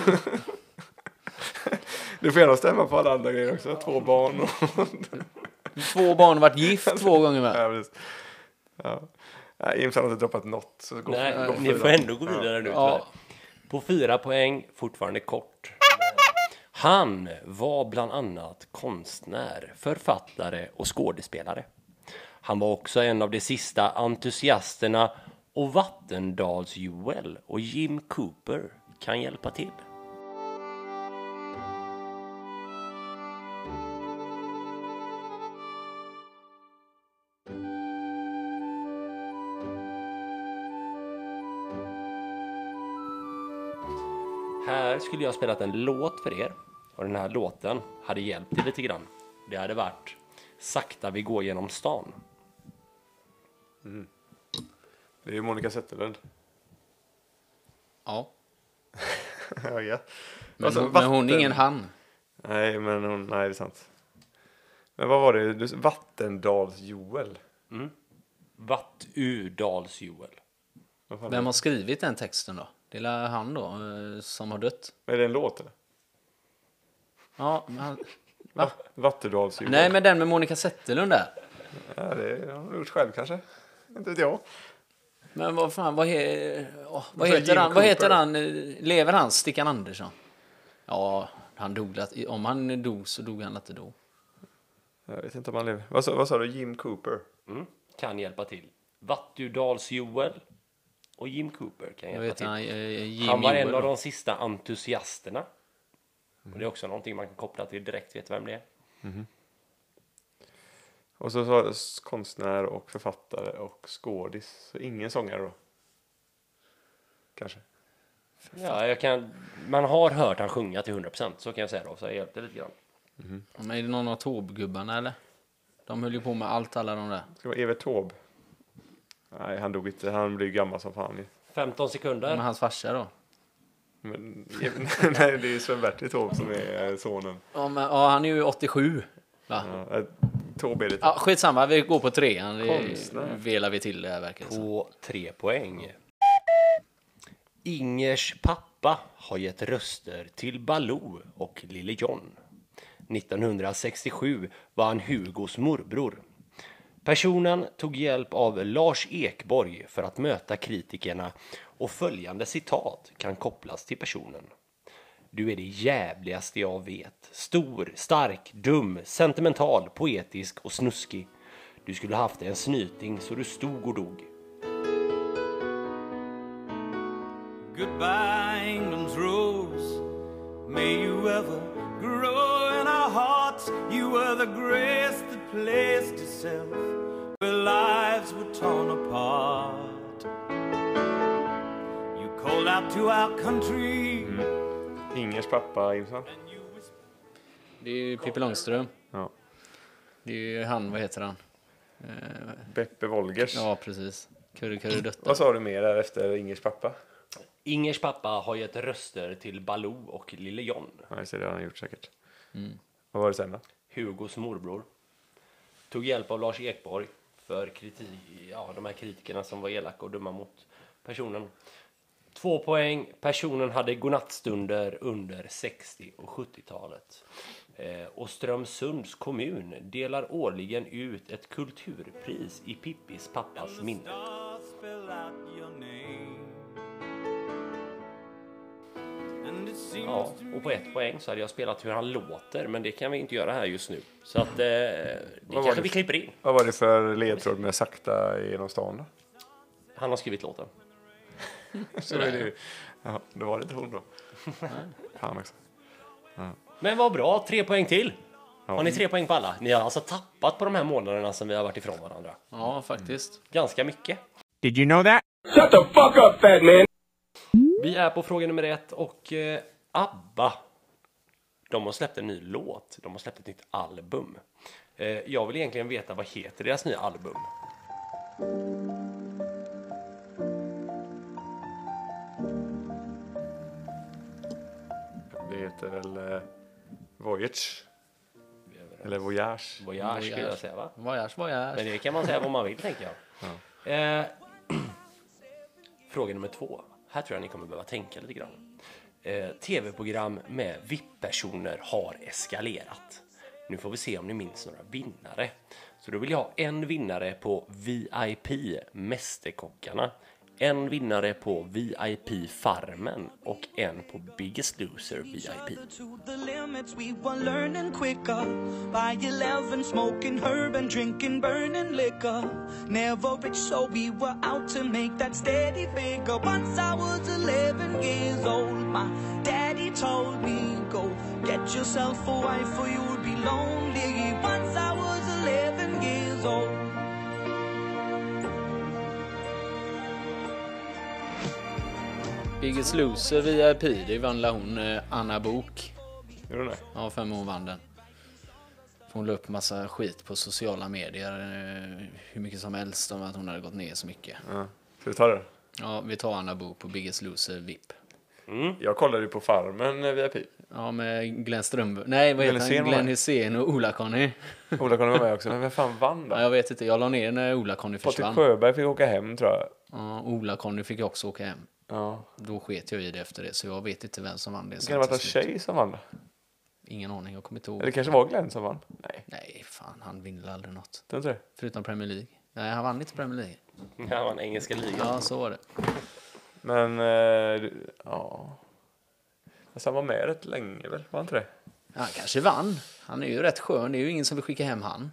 Speaker 3: Du får gärna stämma på alla andra grejer också, två barn och...
Speaker 2: Två barn varit gift två gånger med.
Speaker 3: Ja, precis. Ja. Nej, James har inte droppat något. Så gå,
Speaker 1: Nej, ni
Speaker 3: gå
Speaker 1: får
Speaker 3: vidare.
Speaker 1: ändå gå vidare nu
Speaker 2: Ja.
Speaker 1: tyvärr. På fyra poäng, fortfarande kort. Han var bland annat konstnär, författare och skådespelare. Han var också en av de sista entusiasterna och Vattendals-Joel och Jim Cooper kan hjälpa till. Här skulle jag ha spelat en låt för er och den här låten hade hjälpt er lite grann. Det hade varit Sakta vi går genom stan.
Speaker 3: Det är ju Monica Zetterlund.
Speaker 2: Ja.
Speaker 3: ja, ja.
Speaker 2: Men,
Speaker 3: Alltså,
Speaker 2: hon, men hon är
Speaker 3: vatten-
Speaker 2: ingen han.
Speaker 3: Nej, men hon, nej, det är sant. Men vad var det? Du- Vattendals-Joel?
Speaker 1: Vattudals-Joel.
Speaker 3: Vad fan
Speaker 2: Vem
Speaker 3: är
Speaker 2: har skrivit den texten då? Det är väl han då, eh, som har dött.
Speaker 3: det? Är det en låt? eller?
Speaker 2: Ja, men han...
Speaker 3: Va? Vattendals-Joel?
Speaker 2: Nej, men den med Monica Zetterlund där.
Speaker 3: Ja, det har hon gjort själv kanske. Inte vet jag.
Speaker 2: Men vad fan, vad, he... åh, vad
Speaker 3: sa
Speaker 2: heter han?
Speaker 3: Jim
Speaker 2: Vad
Speaker 3: Cooper.
Speaker 2: heter han? Eh, Lever han? Stickan Andersson? Ja, han dog. lat- Om han dog så dog han inte då.
Speaker 3: Jag vet inte om han lever. Vad sa, vad sa du? Jim Cooper?
Speaker 1: Mm. Kan hjälpa till. Vattudals-Joel och Jim Cooper kan
Speaker 2: Jag
Speaker 1: hjälpa
Speaker 2: vet
Speaker 1: till.
Speaker 2: han, eh, Jim
Speaker 1: Han var en
Speaker 2: Joel
Speaker 1: av
Speaker 2: då.
Speaker 1: de sista entusiasterna. Och det är också någonting man kan koppla till direkt. Vet du vem det är?
Speaker 3: Och så sa s- konstnär och författare och skådis. Så ingen sångare då? Kanske.
Speaker 1: Ja, jag kan... Man har hört han sjunga till 100%. Så kan jag säga då. Så jag hjälpte lite grann.
Speaker 2: Men är det någon av Taube-gubbarna eller? De höll ju på med allt, alla de där.
Speaker 3: Ska det vara Evert Taube? Nej, han dog inte. Han blev ju gammal som fan ju.
Speaker 1: 15 sekunder.
Speaker 2: Med hans farsa då?
Speaker 3: Men, nej, det är Sven-Bertil Taube som är eh, sonen.
Speaker 2: Ja, men, ja han är ju 87. Va? Ja.
Speaker 3: Ja, eh, Taube är lite...
Speaker 2: skitsamma, vi går på trean. Det
Speaker 3: Konstnär.
Speaker 2: velar vi till det här verkar det som.
Speaker 1: På tre poäng. Ingers pappa har gett röster till Baloo och Lille John. 1967 var han Hugos morbror. Personen tog hjälp av Lars Ekborg för att möta kritikerna och följande citat kan kopplas till personen. Du är det jävligaste jag vet. Stor, stark, dum, sentimental, poetisk och snuskig. Du skulle haft en snyting så du stod och dog.
Speaker 5: Goodbye, England's rose. May you ever grow in our hearts. You were the grace that placed itself where lives were torn apart. You called out to our country.
Speaker 3: Ingers pappa, Imsan.
Speaker 2: Det är ju Pippi Långström.
Speaker 3: Ja.
Speaker 2: Det är ju han, vad heter han? Eh,
Speaker 3: Beppe Wolgers.
Speaker 2: ja, precis. Kurre Kurre Dutta.
Speaker 3: Vad sa du mer där efter Ingers pappa?
Speaker 1: Ingers pappa har gett röster till Baloo och Lille John,
Speaker 3: Nej, så det har han gjort säkert. Mm. Vad var det sen då?
Speaker 1: Hugos morbror. Tog hjälp av Lars Ekborg för kritik, ja, de här kritikerna som var elaka och dumma mot personen. Två poäng. Personen hade godnattstunder under 60 och 70-talet. Eh, och Strömsunds kommun delar årligen ut ett kulturpris i Pippis pappas minne.
Speaker 5: Stars spell out your name. And it seems
Speaker 1: Ja,
Speaker 5: to
Speaker 1: och på ett poäng så hade jag spelat hur han låter, men det kan vi inte göra här just nu. Så att eh, det kanske
Speaker 3: det?
Speaker 1: vi klipper in.
Speaker 3: Vad var det för ledtråd med sakta genom stan då?
Speaker 1: Han har skrivit låten.
Speaker 3: Så är det ju. Ja, då var det inte hon då. Fan också.
Speaker 1: Men vad bra, tre poäng till! Har ni tre poäng på alla? Ni har alltså tappat på de här månaderna som vi har varit ifrån varandra.
Speaker 2: Ja, faktiskt.
Speaker 1: Ganska mycket.
Speaker 6: Did you know that?
Speaker 1: Vi är på fråga nummer ett och eh, ABBA. De har släppt en ny låt. De har släppt ett nytt album. Eh, jag vill egentligen veta vad heter deras nya album?
Speaker 3: heter väl eh, Voyage? Eller Voyage?
Speaker 1: Voyage skulle jag säga va?
Speaker 2: Voyage, voyage.
Speaker 1: Men det kan man säga vad man vill tänker jag. Eh, fråga nummer två. Här tror jag ni kommer behöva tänka lite grann. Eh, Tv-program med VIP-personer har eskalerat. Nu får vi se om ni minns några vinnare. Så då vill jag ha en vinnare på VIP Mästerkockarna, en vinnare på VIP Farmen och en på Biggest Loser VIP.
Speaker 6: other to the limits. We were learning quicker. By 11, smoking herb and drinking burning liquor. Never rich, so we were out to make that steady figure. Once I was 11 years old, my daddy told me, Go get yourself a wife, or you'll be lonely. Once I was 11 years old.
Speaker 2: Biggest Loser VIP, det vann la hon eh, Anna Bok.
Speaker 3: Gjorde du det?
Speaker 2: Ja, fem hon vann den. För Hon la upp massa skit på sociala medier, eh, hur mycket som helst, om att hon hade gått ner så mycket.
Speaker 3: Ja. Ska vi ta det?
Speaker 2: Ja, vi tar Anna Bok på Biggest Loser VIP.
Speaker 3: Jag kollade ju på Farmen eh, VIP.
Speaker 2: Ja, med Glenn Strömberg. Nej, vad
Speaker 3: Glenn
Speaker 2: heter
Speaker 3: Hysén
Speaker 2: han?
Speaker 3: var
Speaker 2: Glenn
Speaker 3: med.
Speaker 2: Hysén och Ola-Conny.
Speaker 3: Ola kommer vara med också. Men vem fan vann
Speaker 2: Ja,
Speaker 3: då?
Speaker 2: jag vet inte, jag la ner den när Ola-Conny
Speaker 3: Patrik
Speaker 2: försvann.
Speaker 3: Sjöberg fick åka hem tror jag.
Speaker 2: Ja, Ola-Conny fick också åka hem.
Speaker 3: Ja.
Speaker 2: Då sket jag i det efter det, så jag vet inte vem som vann det.
Speaker 3: Kan det ha varit en tjej som vann? då?
Speaker 2: Ingen aning, jag kommer inte ihåg.
Speaker 3: Eller det kanske var Glenn som vann? Nej,
Speaker 2: Nej, fan, han vinner aldrig något.
Speaker 3: tror inte det.
Speaker 2: Förutom Premier League. Nej, han vann inte Premier League.
Speaker 1: Det var en engelska ligan.
Speaker 2: Ja, så var det.
Speaker 3: Men, eh, du- ja. Fast han var med rätt länge väl? Var han inte det?
Speaker 2: Han kanske vann. Han är ju rätt skön. Det är ju ingen som vill skicka hem han.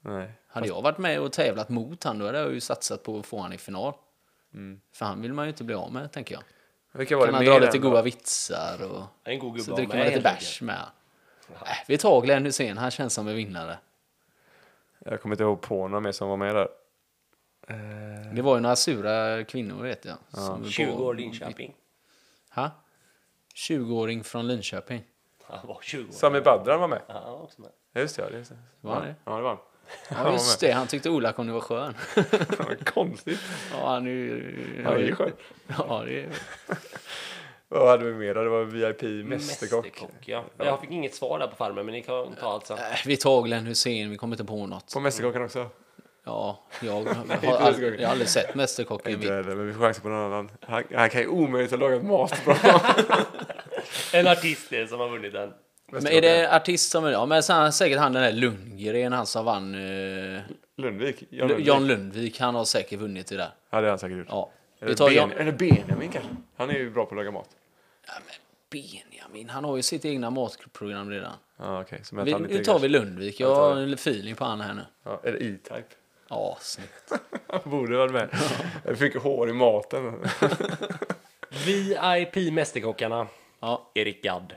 Speaker 3: Nej.
Speaker 2: Hade jag varit med och tävlat mot han, då hade jag ju satsat på att få han i final. För han vill man ju inte bli av med, tänker jag.
Speaker 3: Vilka var
Speaker 2: kan
Speaker 3: det
Speaker 2: han
Speaker 3: mer
Speaker 2: dra
Speaker 3: än
Speaker 2: lite
Speaker 3: Mm. då?
Speaker 2: goda vitsar och
Speaker 1: En god gubbe
Speaker 2: så
Speaker 1: av
Speaker 2: dricker
Speaker 1: mig,
Speaker 2: man lite
Speaker 1: helt
Speaker 2: bärs med han. Äh, vi tar Glenn Hysén, han känns som en vinnare.
Speaker 3: Jag kommer inte ihåg på någon mer som var med där. Mm.
Speaker 2: Det var ju några sura kvinnor, vet jag. som var på-
Speaker 1: 20 år Linköping.
Speaker 2: Ha? 20-åring från Linköping.
Speaker 1: Han var 20 år.
Speaker 3: Sami Badran var med.
Speaker 1: Ja, han var också med.
Speaker 3: Ja, just det, ja, just det.
Speaker 2: Var han det?
Speaker 3: Ja, det var han. Han
Speaker 2: Ja,
Speaker 3: var
Speaker 2: just
Speaker 3: med.
Speaker 2: det. Han tyckte Ola Conny var skön.
Speaker 3: Vad Konstigt.
Speaker 2: ja, han är ju...
Speaker 3: Han är ju skön.
Speaker 2: Ja, det är...
Speaker 3: Vad hade vi mer då? Det var VIP Mästerkock.
Speaker 1: Mästerkock. Ja. Jag fick inget svar där på farmen, men ni kan ta allt sen.
Speaker 2: Äh, Vi tar Glenn Hussein, vi kommer inte på något.
Speaker 3: På Mästerkocken också?
Speaker 2: Ja, jag har,
Speaker 3: inte
Speaker 2: aldrig,
Speaker 3: Mästerkocken.
Speaker 2: jag har aldrig sett Mästerkocken.
Speaker 3: Inte
Speaker 2: Vi-
Speaker 3: heller, men vi får chansa på någon annan. Han, han kan ju omöjligt ha lagat mat bra.
Speaker 1: En artist är som har vunnit den.
Speaker 2: Men är det artist som... Ja, men sen, säkert han den där Lundgren, han som vann... Eh,
Speaker 3: Lundvik? Jan
Speaker 2: Lundvik.
Speaker 3: Lundvik?
Speaker 2: Jan Lundvik, han har säkert vunnit det där.
Speaker 3: Ja, det har han säkert gjort.
Speaker 2: Ja. Vi
Speaker 3: Eller,
Speaker 2: tar
Speaker 3: ben,
Speaker 2: Jan...
Speaker 3: eller Benjamin kanske? Han är ju bra på att laga mat.
Speaker 2: Ja, men Benjamin, han har ju sitt egna matprogram redan.
Speaker 3: Ja, okej. Så men
Speaker 2: Vi,
Speaker 3: att han inte
Speaker 2: nu
Speaker 3: är
Speaker 2: tar
Speaker 3: kanske-
Speaker 2: vi Lundvik, jag har en feeling på han här nu.
Speaker 3: Ja, eller E-Type.
Speaker 2: Ja, snyggt.
Speaker 3: Han borde varit med. Jag fick hår i maten.
Speaker 1: VIP Mästerkockarna.
Speaker 2: Ja,
Speaker 1: Erik Gadd.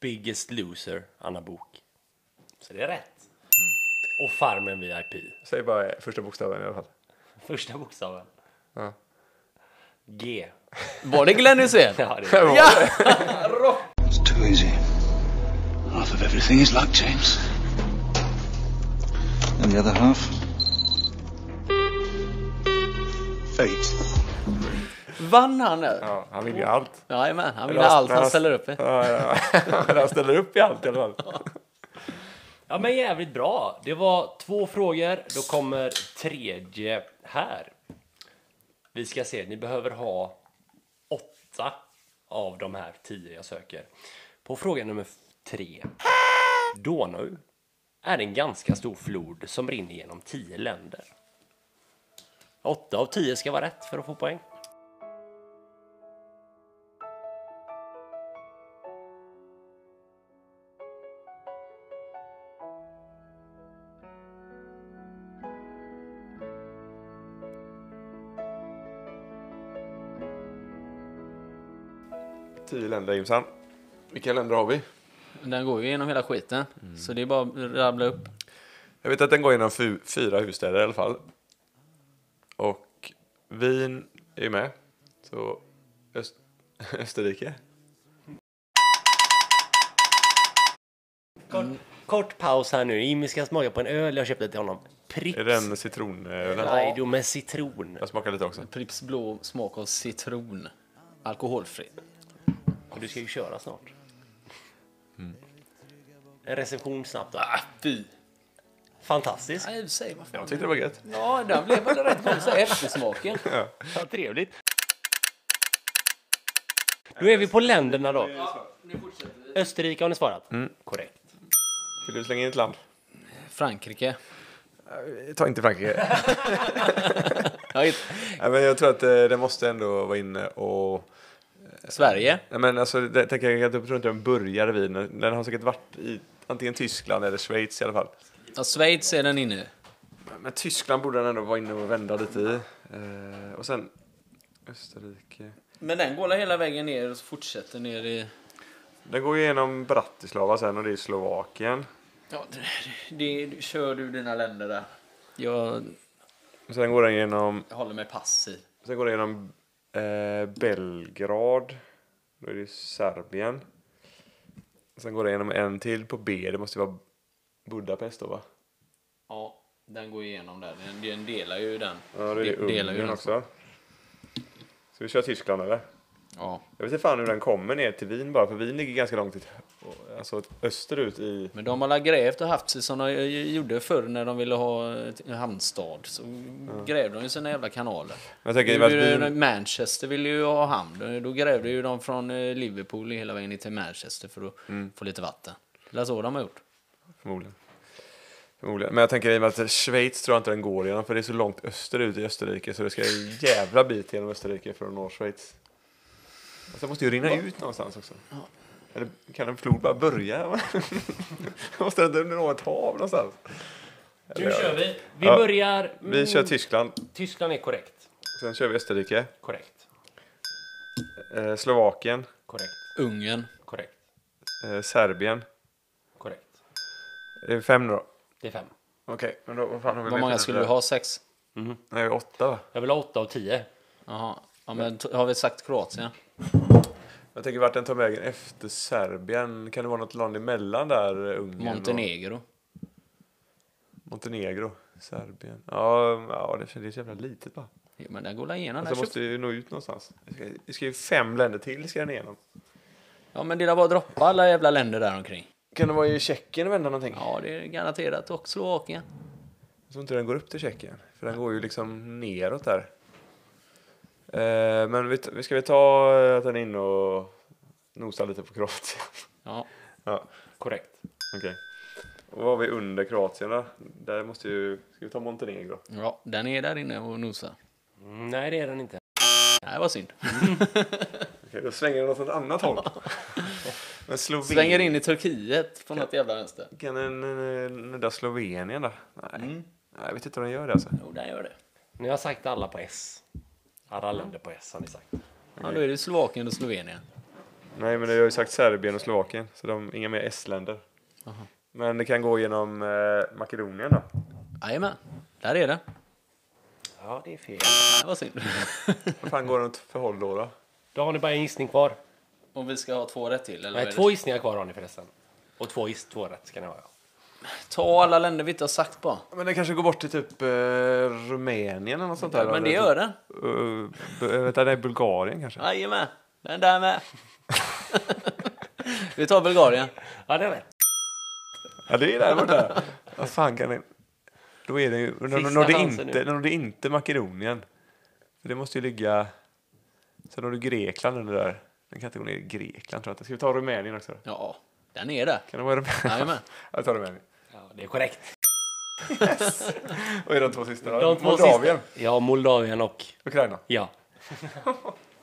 Speaker 1: Biggest Loser Anna Bok. Så det är rätt. Och Farmen VIP.
Speaker 3: Säg bara eh, första bokstaven i alla fall.
Speaker 1: Första bokstaven.
Speaker 3: Ja.
Speaker 1: G.
Speaker 2: var det Glenn Hysén?
Speaker 1: Ja, det är
Speaker 4: It's too easy. Half of everything is luck, James. And the other half? Fate.
Speaker 2: Vann han nu?
Speaker 3: Ja, han vinner ju allt.
Speaker 2: Jajamän, han vill
Speaker 3: Eller
Speaker 2: ha allt han
Speaker 3: Aspergers.
Speaker 2: ställer upp eh. i.
Speaker 3: Ja, ja, ja. Men han ställer upp i allt i alla fall.
Speaker 1: Ja men jävligt bra. Det var två frågor. Då kommer tredje här. Vi ska se, ni behöver ha åtta av de här tio jag söker. På fråga nummer f- tre. Donau är en ganska stor flod som rinner genom tio länder. Åtta av tio ska vara rätt för att få poäng.
Speaker 3: Tio länder, Jimsan. Vilka länder har vi?
Speaker 2: Den går ju igenom hela skiten. Så det är bara att rabbla upp.
Speaker 3: Jag vet att den går genom fu- fyra huvudstäder i alla fall. Och Wien är ju med. Så Öst- Österrike.
Speaker 1: Kort, kort paus här nu. Jimmy ska smaka på en öl jag köpte till honom. Pricks.
Speaker 3: Är den citronölen?
Speaker 1: Raido med citron.
Speaker 3: Jag smakar lite också.
Speaker 2: Pripps blå smak av citron. Alkoholfri.
Speaker 1: du ska ju köra snart. En recension snabbt då.
Speaker 3: Ah,
Speaker 2: Fy.
Speaker 1: Fantastiskt.
Speaker 2: Nej, säg vad fan.
Speaker 3: Jag tyckte det var gött.
Speaker 2: Ja, den blev väl rätt konstig. Eftersmaken.
Speaker 1: Vad trevligt. Då är vi på länderna då. Österrike har ni svarat.
Speaker 3: Mm.
Speaker 1: Korrekt.
Speaker 3: Vill du slänga in ett land?
Speaker 2: Frankrike.
Speaker 3: Ta inte Frankrike.
Speaker 2: Ja, i-
Speaker 3: Nej, men jag tror att eh, det måste ändå vara inne och...
Speaker 2: Sverige.
Speaker 3: Nej, men alltså, det, tänker jag, jag tror inte den började vid, men den har säkert varit i antingen Tyskland eller Schweiz i alla fall.
Speaker 2: Ja, Schweiz är den inne.
Speaker 3: Men Tyskland borde den ändå vara inne och vända lite i. Eh, och sen Österrike.
Speaker 2: Men den går hela vägen ner och så fortsätter ner i...
Speaker 3: Den går ju igenom Bratislava sen och det är Slovakien.
Speaker 2: Ja, det, det, det, kör du dina länder där. Jag
Speaker 3: Och sen går den genom,
Speaker 2: håller mig passiv.
Speaker 3: sen går den genom eh, Belgrad. Då är det ju Serbien. Sen går den genom en till på B. Det måste ju vara Budapest då va?
Speaker 2: Ja, den går igenom där. Den, den delar ju den.
Speaker 3: Ja, då är det
Speaker 2: De- delar ju
Speaker 3: Ungern
Speaker 2: den.
Speaker 3: också. Ska vi köra Tyskland eller?
Speaker 2: Ja,
Speaker 3: Jag vet inte fan hur den kommer ner till Wien bara, för Wien ligger ganska långt ut, alltså österut i...
Speaker 2: men de har la grävt och haft sig som de ju- gjorde förr när de ville ha ett- en hamnstad. Så grävde de ju sina jävla kanaler.
Speaker 3: Jag tänker
Speaker 2: Nu
Speaker 3: att
Speaker 2: är det-
Speaker 3: Wien-
Speaker 2: Manchester ville ju ha hamn. Då grävde ju de från eh, Liverpool hela vägen ner till Manchester för att
Speaker 3: Mm.
Speaker 2: få lite vatten. Det är så de har gjort.
Speaker 3: Förmodligen. Förmodligen. Men jag tänker i och med att Schweiz tror jag inte den går igenom, för det är så långt österut i Österrike, så det ska en jävla bit genom Österrike för att nå Schweiz. Och sen måste ju rinna ut någonstans också. Eller kan en flod bara börja? måste den nå ett hav någonstans?
Speaker 1: Nu kör vi. Vi
Speaker 3: Ja.
Speaker 1: börjar...
Speaker 3: Vi kör Tyskland,
Speaker 1: Tyskland är korrekt.
Speaker 3: sen kör vi Österrike,
Speaker 1: Korrekt.
Speaker 3: eh, Slovakien,
Speaker 1: Korrekt.
Speaker 2: Ungern.
Speaker 1: Korrekt.
Speaker 3: eh, Serbien.
Speaker 1: Korrekt.
Speaker 3: Det är fem då.
Speaker 1: Det är fem.
Speaker 3: Okej, men då, vad fan har vi
Speaker 2: Vad
Speaker 3: mer
Speaker 2: många
Speaker 3: för
Speaker 2: skulle
Speaker 3: det?
Speaker 2: du ha? Sex?
Speaker 3: Nej, åtta va?
Speaker 1: Jag vill ha åtta av tio.
Speaker 2: Jaha. Ja, men t- har vi sagt Kroatien?
Speaker 3: Jag tänker vart den tar vägen efter Serbien. Kan det vara något land emellan där? eh, Ungern och-
Speaker 2: Montenegro?
Speaker 3: Montenegro, Serbien. Ja, ja det känns det är så jävla litet bara.
Speaker 2: Jo, men den går la igenom.
Speaker 3: Alltså,
Speaker 2: den
Speaker 3: jag måste ju nå ut någonstans. Vi ska, vi ska ju fem länder till ska den igenom.
Speaker 2: Ja, men det där var att droppa alla jävla länder där omkring.
Speaker 3: Kan det vara i Tjeckien och vända någonting?
Speaker 2: Ja, det är garanterat. Och Slovakien.
Speaker 3: Jag tror inte den går upp till Tjeckien. För den går ju liksom neråt där. Eh, men vi, vi ska vi ta eh, att den är inne och nosar lite på Kroatien?
Speaker 2: Ja.
Speaker 3: ja,
Speaker 1: Korrekt.
Speaker 3: okej. Och vad har vi under Kroatien då? Där måste ju... Ska vi ta Montenegro?
Speaker 2: ja, den är där inne och nosar.
Speaker 1: Mm, Nej, det är den inte.
Speaker 2: Nej, vad synd.
Speaker 3: Okej, då svänger den åt ett annat håll. men Slovenien...
Speaker 2: Svänger in i Turkiet på något jävla vänster.
Speaker 3: Kan den eh, nudda Slovenien då? Nej. Nej, jag vet inte om den gör det alltså.
Speaker 2: Jo, den gör det.
Speaker 1: Ni har sagt alla på S. Alla länder på S har ni sagt.
Speaker 2: Ja, då är det Slovakien och Slovenien.
Speaker 3: Nej, men jag har ju sagt Serbien och Slovakien, så de inga mer S-länder. Men det kan gå genom eh, Makedonien då.
Speaker 2: Jajamän, där är den.
Speaker 1: Ja, det är fel.
Speaker 2: Nej, vad synd.
Speaker 3: Vad fan går den åt för håll då? då?
Speaker 1: Då har ni bara en gissning kvar.
Speaker 2: Om vi ska ha två rätt till? Eller vad är
Speaker 1: Nej,
Speaker 2: det?
Speaker 1: två gissningar kvar har ni förresten. Och två, giss, två rätt ska ni ha. ja.
Speaker 2: Ta alla länder vi inte har sagt på.
Speaker 3: Men den kanske går bort till typ eh, Rumänien eller något sånt där.
Speaker 2: Men det gör den.
Speaker 3: Uh, vänta, det är Bulgarien kanske?
Speaker 2: Jajamän, den där med. vi tar Bulgarien.
Speaker 1: Ja, det är rätt.
Speaker 3: Ja, det är där borta. Vad fan kan den... Då är den ju... Den
Speaker 1: Sista
Speaker 3: nådde
Speaker 1: chansen
Speaker 3: inte,
Speaker 1: nu.
Speaker 3: den nådde inte Makedonien. För Det måste ju ligga... Sen har du Grekland eller där. Den kan inte gå ner i Grekland tror jag inte. Ska vi ta Rumänien också? då?
Speaker 2: Ja, den är där.
Speaker 3: Kan det vara Rumänien?
Speaker 2: Jajamän.
Speaker 3: Jag tar Rumänien.
Speaker 1: Ja, det är korrekt.
Speaker 3: Och är de två sista? då?
Speaker 1: De två
Speaker 3: Moldavien,
Speaker 1: sista- Ja, Moldavien och...
Speaker 3: Ukraina.
Speaker 1: Ja.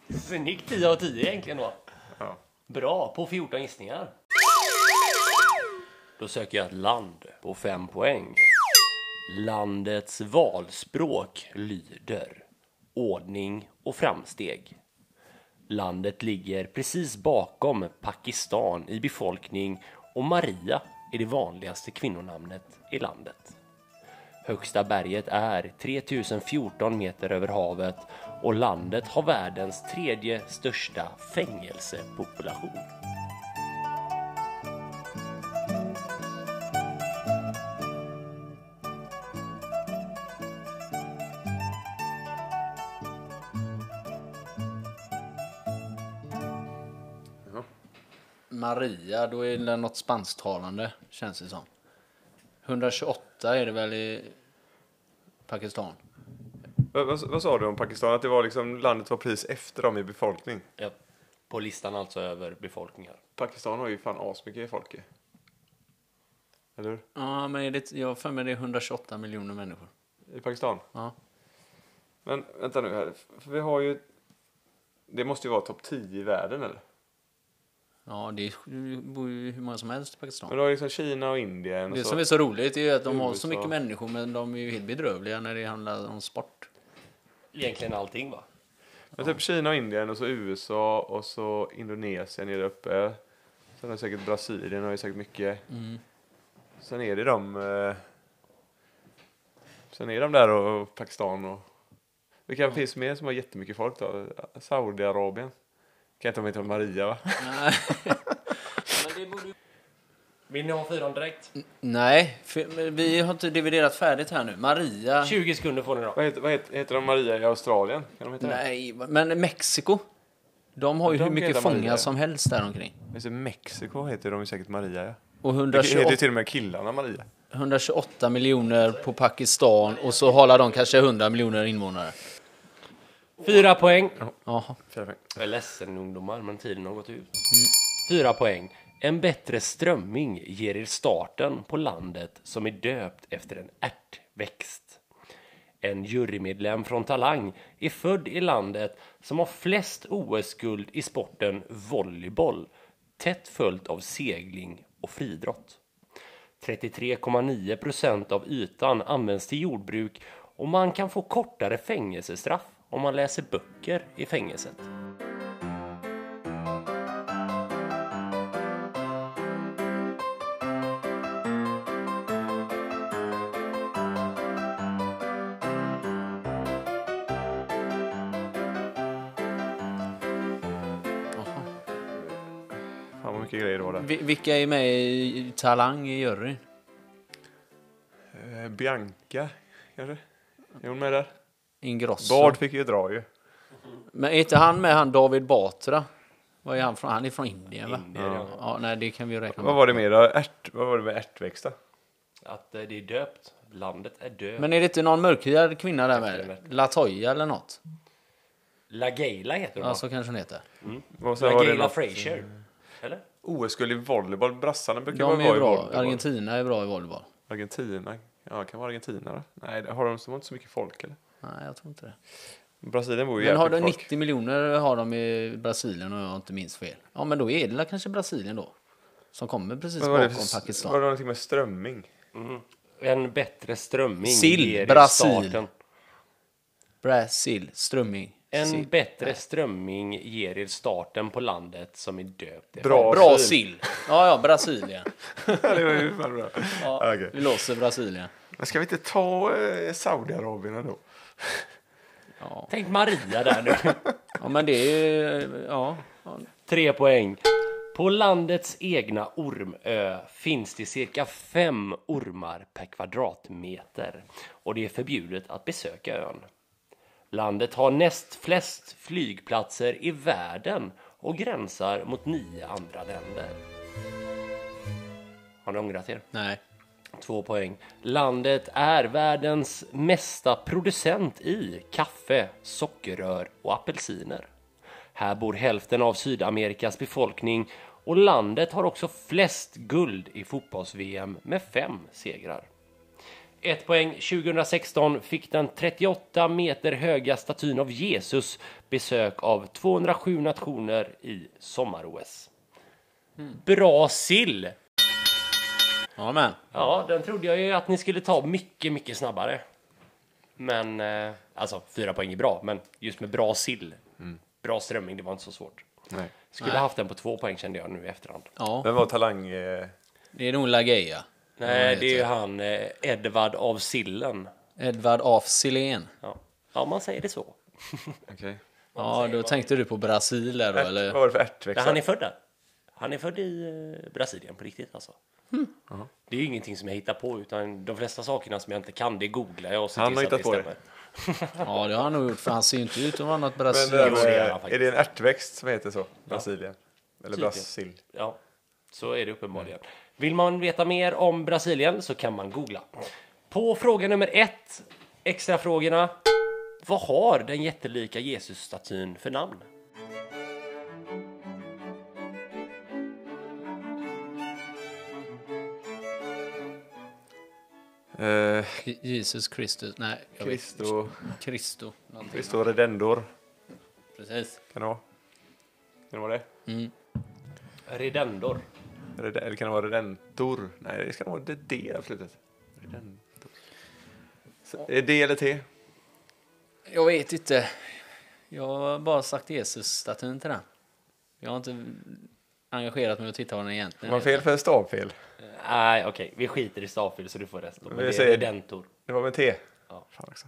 Speaker 1: Snyggt 10 av 10 egentligen då.
Speaker 3: Ja.
Speaker 1: Bra, på 14 gissningar. Då söker jag ett land på 5 poäng. Landets valspråk lyder ordning och framsteg. Landet ligger precis bakom Pakistan i befolkning och Maria är det vanligaste kvinnonamnet i landet. Högsta berget är 3014 meter över havet och landet har världens tredje största fängelsepopulation.
Speaker 2: Maria, då är det något spansktalande, känns det som. 128 är det väl i Pakistan?
Speaker 3: Vad, vad, vad sa du om Pakistan? Att det var liksom, landet var precis efter dem i befolkning?
Speaker 1: Ja, på listan alltså över befolkningar.
Speaker 3: Pakistan har ju fan asmycket folk ju. Eller hur?
Speaker 2: Ja, men är det, jag har för mig det är 128 miljoner människor.
Speaker 3: I Pakistan?
Speaker 2: Ja.
Speaker 3: Men vänta nu här, för vi har ju... Det måste ju vara topp 10 i världen eller?
Speaker 2: Ja, det är- bor ju hur många som helst i Pakistan.
Speaker 3: Men du har liksom Kina och Indien och
Speaker 2: Det
Speaker 3: så.
Speaker 2: som är så roligt är ju att de har
Speaker 3: USA.
Speaker 2: så mycket människor men de är ju helt bedrövliga när det handlar om sport.
Speaker 1: Egentligen allting va?
Speaker 3: Men typ Kina och Indien och så USA och så Indonesien är där uppe. Sen har säkert Brasilien har ju säkert mycket.
Speaker 2: Mm.
Speaker 3: Sen är det de... Eh, sen är de där och, och Pakistan och... Vilka finns mer som har jättemycket folk då? Saudiarabien. Kan inte de heta Maria va?
Speaker 1: Vill ni ha fyran direkt?
Speaker 2: Nej, för, men vi har inte dividerat färdigt här nu. Maria...
Speaker 1: 20 sekunder får ni då.
Speaker 3: vad heter, vad heter, heter de Maria i Australien? Kan de heta det?
Speaker 2: Nej, men Mexiko. De har ju
Speaker 3: De
Speaker 2: hur mycket
Speaker 3: heter Maria.
Speaker 2: fångar som helst där omkring.
Speaker 3: Men så Mexiko Alltså, heter de ju säkert Maria ja.
Speaker 2: Och
Speaker 3: Det heter ju
Speaker 2: 128,
Speaker 3: till och med killarna Maria.
Speaker 2: 128 miljoner på Pakistan och så håller de kanske 100 miljoner invånare.
Speaker 1: Fyra poäng.
Speaker 2: Jaha.
Speaker 1: Jag är ledsen ungdomar, men tiden har gått ut. Fyra poäng. En bättre strömming ger er starten på landet som är döpt efter en ärtväxt. En jurymedlem från Talang är född i landet som har flest OS-guld i sporten volleyboll, tätt följt av segling och friidrott. 33,9 procent av ytan används till jordbruk och man kan få kortare fängelsestraff om man läser böcker i fängelset.
Speaker 3: Fan vad mycket grejer det var där.
Speaker 2: Vi- Vilka är med i Talang i juryn?
Speaker 3: Eh, Bianca kanske? Är hon med där?
Speaker 2: Ingrosso.
Speaker 3: Bard fick ju dra ju.
Speaker 2: Men är inte han med han David Batra? Var är han från? Han är från Indien va? ja. nej, det kan vi ju räkna
Speaker 3: Vad
Speaker 2: med.
Speaker 3: var det mer då? Ärt, vad var det med ärtväxt då?
Speaker 1: Att eh, det är döpt. Landet är döpt.
Speaker 2: Men är det inte någon mörkhyad kvinna där med? Latoya eller något?
Speaker 1: La Gaila heter hon
Speaker 2: Ja,
Speaker 1: va?
Speaker 2: så kanske hon heter.
Speaker 3: Och sen
Speaker 1: La
Speaker 3: var det
Speaker 1: Gaila
Speaker 3: något
Speaker 1: Frazier. Eller?
Speaker 3: OS-guld i volleyboll. Brassarna brukar vara
Speaker 2: De är
Speaker 3: bra
Speaker 2: ju
Speaker 3: i
Speaker 2: bra.
Speaker 3: volleyboll.
Speaker 2: Argentina är bra i volleyboll.
Speaker 3: Argentina. Ja, kan vara Argentina då? Nej, det- har de som har inte så mycket folk eller?
Speaker 2: Nej, jag tror inte det.
Speaker 3: Brasilien bor ju
Speaker 2: Men har
Speaker 3: jävligt
Speaker 2: de
Speaker 3: mycket folk.
Speaker 2: 90 miljoner har de i Brasilien och jag inte minns fel. Ja, men då är det kanske Brasilien då. Som kommer precis
Speaker 3: Vad var det
Speaker 2: bakom
Speaker 3: för-
Speaker 2: Pakistan.
Speaker 3: Var det någonting med strömming?
Speaker 1: En bättre strömming
Speaker 2: Sill,
Speaker 1: ger er
Speaker 2: Brasil.
Speaker 1: starten.
Speaker 2: Brasil, strömming.
Speaker 1: En
Speaker 2: sill.
Speaker 1: bättre strömming ger er starten på landet som är döpt efter.
Speaker 3: Bra,
Speaker 2: Bra
Speaker 3: sill.
Speaker 2: sill. Ja, ja, Brasilien.
Speaker 3: det var ju fan bra.
Speaker 2: Ja,
Speaker 3: Okej.
Speaker 2: Vi låser Brasilien.
Speaker 3: Men ska vi inte ta eh, Saudiarabien ändå?
Speaker 1: Tänk Maria där nu.
Speaker 2: Ja, men det är ju... Ja. ja.
Speaker 1: Tre poäng. På landets egna ormö finns det cirka fem ormar per kvadratmeter och det är förbjudet att besöka ön. Landet har näst flest flygplatser i världen och gränsar mot nio andra länder. Har ni ångrat er?
Speaker 2: Nej.
Speaker 1: Två poäng. Landet är världens mesta producent i kaffe, sockerrör och apelsiner. Här bor hälften av Sydamerikas befolkning och landet har också flest guld i fotbolls-VM med fem segrar. Ett poäng. 2016 fick den 38 meter höga statyn av Jesus besök av 207 nationer i sommar-OS. Bra sill!
Speaker 2: Ja, men.
Speaker 1: Ja, den trodde jag ju att ni skulle ta mycket, mycket snabbare. Men eh, alltså, fyra poäng är bra, men just med bra sill, bra strömming, det var inte så svårt.
Speaker 3: Mm. Nej.
Speaker 1: Skulle haft den på två poäng kände jag nu i efterhand.
Speaker 2: Ja,
Speaker 3: Vem var talang... Eh,
Speaker 2: det är nog Lageia.
Speaker 1: Nej, det är ju han eh, Edvard av Sillen.
Speaker 2: Edvard af Silén.
Speaker 1: Ja. ja, man säger det så.
Speaker 3: okej.
Speaker 2: Ja, då tänkte du på Brasil där då,
Speaker 3: Ärt-
Speaker 2: eller?
Speaker 3: Vad var det för
Speaker 1: Där
Speaker 3: ärtväxt?
Speaker 1: han är född där. Han är född i eh, Brasilien på riktigt alltså. Det är ju ingenting som jag hittar på, utan de flesta sakerna som jag inte kan, det googlar jag och ser
Speaker 3: Han
Speaker 1: till
Speaker 3: har
Speaker 1: så att
Speaker 3: hittat på det.
Speaker 1: stämmer.
Speaker 2: Ja, det har han nog gjort, för han ser ju inte ut att vara något
Speaker 3: Men det
Speaker 2: Brasil.
Speaker 3: där
Speaker 1: Jo, det är han
Speaker 3: med, är
Speaker 1: faktiskt.
Speaker 3: det en ärtväxt som heter så? Brasilien? Eller Brasil.
Speaker 1: Ja, så är det uppenbarligen. Vill man veta mer om Brasilien så kan man googla. På fråga nummer ett, extrafrågorna. Vad har den jättelika Jesusstatyn för namn?
Speaker 3: Eh,
Speaker 2: Jesus Kristus. Nej, jag vet.
Speaker 3: Cristo,
Speaker 2: Kristo. någonting.
Speaker 3: Cristo Redendor
Speaker 2: Precis.
Speaker 3: kan det vara. Kan det vara det?
Speaker 1: Redendor.
Speaker 3: Rede- Eller kan det vara Redentor? Nej, det ska nog vara det D där på slutet. Redentor. Så, är det D eller T?
Speaker 2: Jag vet inte. Jag har bara sagt Jesus-statyn till den. Jag har inte engagerat mig och tittat på den egentligen.
Speaker 3: Var det fel för stavfel?
Speaker 1: Nej, okej, vi skiter i stavfel så du får resten. Men
Speaker 3: Vi
Speaker 1: det är
Speaker 3: säger-
Speaker 1: Redentor.
Speaker 3: Det var med T.
Speaker 1: Ja.
Speaker 3: Fan också.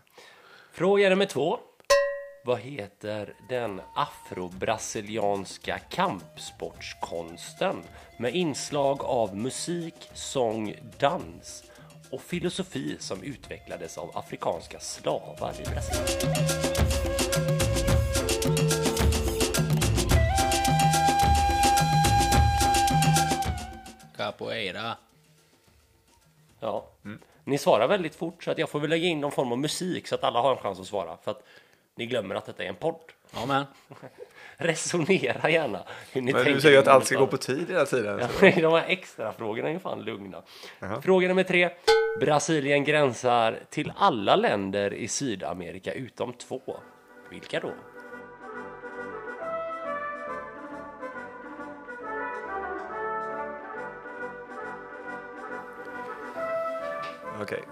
Speaker 1: Fråga nummer två. Vad heter den afrobrasilianska kampsportskonsten med inslag av musik, sång, dans och filosofi som utvecklades av afrikanska slavar i Brasilien?
Speaker 2: Capoeira.
Speaker 1: Ja.
Speaker 3: Mm.
Speaker 1: Ni svarar väldigt fort så att jag får väl lägga in någon form av musik så att alla har en chans att svara för att ni glömmer att detta är en podd.
Speaker 2: Ja, men.
Speaker 1: Resonera gärna hur ni
Speaker 3: Men
Speaker 1: tänker
Speaker 3: du säger ju att
Speaker 1: innan
Speaker 3: allt
Speaker 1: ni
Speaker 3: ska
Speaker 1: svarar.
Speaker 3: gå på tid hela tiden.
Speaker 1: Ja,
Speaker 3: så-
Speaker 1: de här extra frågorna är ju fan lugna. Fråga nummer tre. Brasilien gränsar till alla länder i Sydamerika utom två. Vilka då?
Speaker 3: Okej.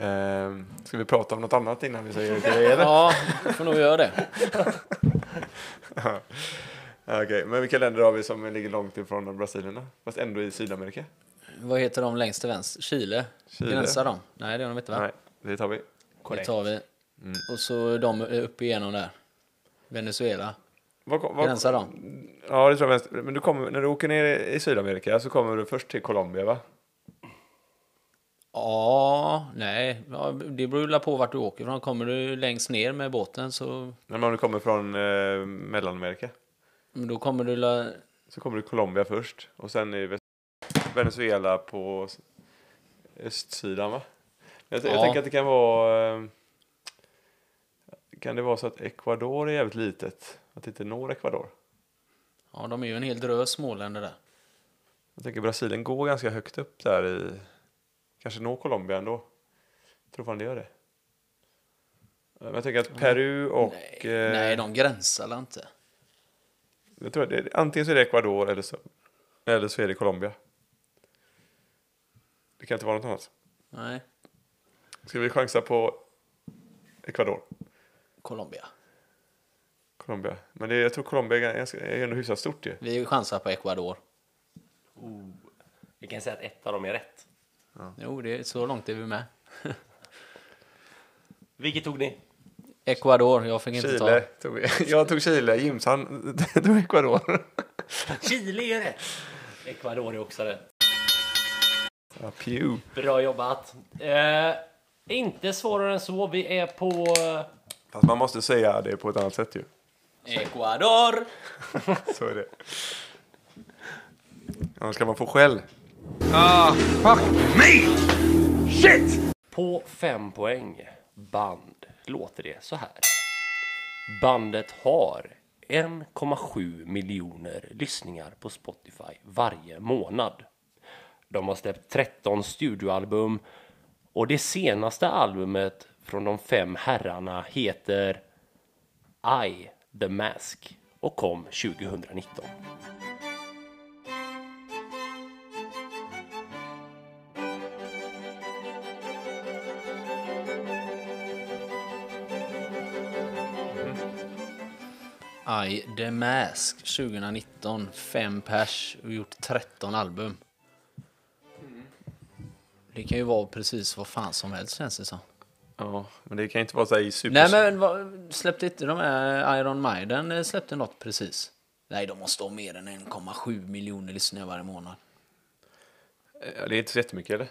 Speaker 3: Ehm, ska vi prata om något annat innan vi säger det? eller?
Speaker 2: Ja, vi får nog göra det.
Speaker 3: Okej, men vilka länder har vi som ligger långt ifrån Brasilien då? Fast ändå i Sydamerika?
Speaker 2: Vad heter de längst till vänster? Chile?
Speaker 3: Chile.
Speaker 2: Gränsar de? Nej, det gör de inte, va?
Speaker 3: Nej, det tar vi.
Speaker 2: Det tar vi. Och så de är uppe igenom där. Venezuela.
Speaker 3: Vad kom- vad-
Speaker 2: Gränsar de?
Speaker 3: Ja, det tror jag mest. Men du kommer, när du åker ner i Sydamerika så kommer du först till Colombia va?
Speaker 2: Ja, nej. Ja, det beror ju på vart du åker ifrån. Kommer du längst ner med båten så
Speaker 3: Men om du kommer från eh, Mellanamerika
Speaker 2: men då kommer du... La...
Speaker 3: så kommer du till Colombia först och sen i Ves- Venezuela på s- östsidan va? Jag, t- jag
Speaker 2: Ja.
Speaker 3: tänker att det kan vara... eh, Kan det vara så att Ecuador är jävligt litet? Att det inte når Ecuador?
Speaker 2: Ja, de är ju en hel drös småländer där.
Speaker 3: Jag tänker Brasilien går ganska högt upp där i... Kanske når Colombia ändå. Jag tror fan det gör det. Men jag tänker att Peru och...
Speaker 2: Nej,
Speaker 3: eh,
Speaker 2: nej de gränsar väl inte?
Speaker 3: jag tror att det, antingen så är det Ecuador eller så, eller så är det Colombia. Det kan inte vara något annat.
Speaker 2: Nej.
Speaker 3: Ska vi chansa på Ecuador?
Speaker 2: Colombia.
Speaker 3: Colombia. Men det, jag tror Colombia är, ganska, är ändå hyfsat stort ju.
Speaker 2: Vi chansar på Ecuador.
Speaker 1: Vi kan säga att ett av dem är rätt.
Speaker 2: Jo, det är så långt är vi med.
Speaker 1: Vilket tog ni?
Speaker 2: Ecuador, jag fick inte
Speaker 3: Chile.
Speaker 2: ta.
Speaker 3: Tog, vi. jag tog Chile, Jims han tog Ecuador.
Speaker 1: Chile är rätt! Ecuador är också rätt.
Speaker 3: Ja, Pew.
Speaker 1: Bra jobbat! Eh, inte svårare än så. Vi är på... eh,
Speaker 3: Fast man måste säga det på ett annat sätt ju.
Speaker 2: Ecuador!
Speaker 3: Så är det. Annars kan man få skäll.
Speaker 1: På fem poäng band låter det så här. Bandet har 1,7 miljoner lyssningar på Spotify varje månad. De har släppt 13 studioalbum och det senaste albumet från de fem herrarna heter I The Mask och kom 2019.
Speaker 2: I The Mask 2019, fem pers och gjort 13 album. Det kan ju vara precis vad fan som helst känns det som.
Speaker 3: Ja, men det kan ju inte vara så här i super...
Speaker 2: Nej men vad, släppte inte de här Iron Maiden eh, släppte något precis? Nej de måste ha mer än 1,7 miljoner lyssningar varje månad.
Speaker 3: Ja, Det är inte så jättemycket eller?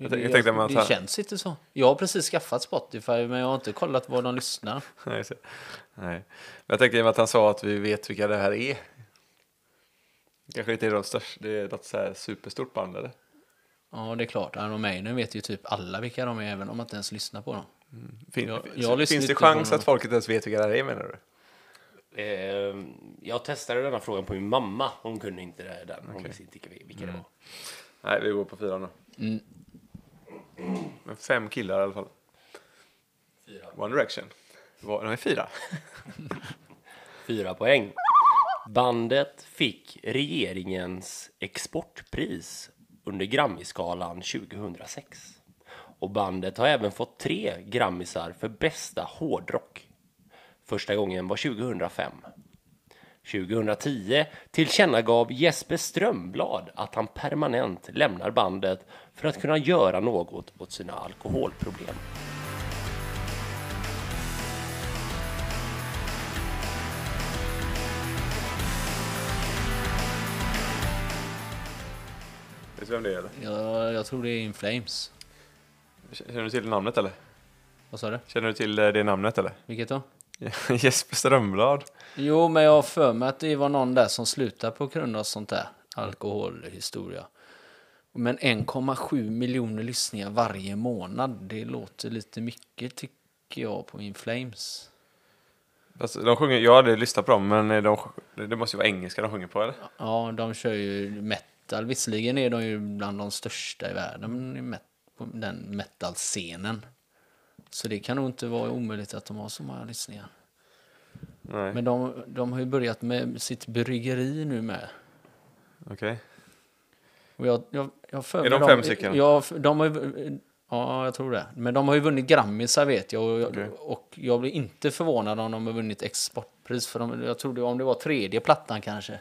Speaker 3: Jag tänkte- jag tänkte man
Speaker 2: det
Speaker 3: tar-
Speaker 2: känns inte så. Jag har precis skaffat Spotify men jag har inte kollat var de lyssnar.
Speaker 3: Nej, så- Nej. Men jag tänkte i och med att han sa att vi vet vilka det här är. Kanske inte är de största, det är något så här superstort band eller?
Speaker 2: Ja, det är klart. Iron Maiden vet ju typ alla vilka de är, även om man inte ens lyssnar på dem.
Speaker 3: Fin,
Speaker 2: Jag-
Speaker 3: fin-
Speaker 2: jag lyssnar
Speaker 3: finns
Speaker 2: inte
Speaker 3: det
Speaker 2: på
Speaker 3: chans
Speaker 2: någon.
Speaker 3: att folk inte ens vet vilka det här är menar du?
Speaker 1: Eh, jag testade denna frågan på min mamma. Hon kunde inte det- den. Hon visste inte vilka- vilka det var.
Speaker 3: Nej, vi går på fyra nu. Mm. Men fem killar i alla fall.
Speaker 1: Fyra.
Speaker 3: One Direction. Var, de är fyra.
Speaker 1: Fyra poäng. Bandet fick regeringens exportpris under Grammyskalan 2006. Och bandet har även fått tre Grammisar för bästa hårdrock. Första gången var 2005. 2010 tillkännagav Jesper Strömblad att han permanent lämnar bandet för att kunna göra något åt sina alkoholproblem.
Speaker 3: Vet du vem det är eller?
Speaker 2: Jag, jag tror det är In Flames.
Speaker 3: Känner du till namnet eller?
Speaker 2: Vad sa du?
Speaker 3: Känner du till eh, det namnet eller?
Speaker 2: Vilket då?
Speaker 3: Jesper Strömblad.
Speaker 2: Jo, men jag har för mig att det var någon där som slutade på grund av sånt där alkoholhistoria. Men 1,7 miljoner lyssningar varje månad, det låter lite mycket tycker jag på In Flames.
Speaker 3: Alltså, de sjunger, jag hade lyssnat på dem, men eh, de, sj- det måste ju vara engelska de sjunger på eller?
Speaker 2: Ja, de kör ju metal. Visserligen är de ju bland de största i världen i met- på den metal-scenen. Så det kan nog inte vara omöjligt att de har så många lyssningar.
Speaker 3: Nej,
Speaker 2: Men de, de har ju börjat med sitt bryggeri nu med.
Speaker 3: okej.
Speaker 2: Och jag, jag, jag för
Speaker 3: Är
Speaker 2: mig
Speaker 3: de fem stycken?
Speaker 2: Jag, de har, ju- ja, jag tror det. Men de har ju vunnit Grammisar vet jag. Och, jag-
Speaker 3: Okej.
Speaker 2: och jag blir inte förvånad om de har vunnit exportpris. För de, jag trodde om det var tredje plattan kanske.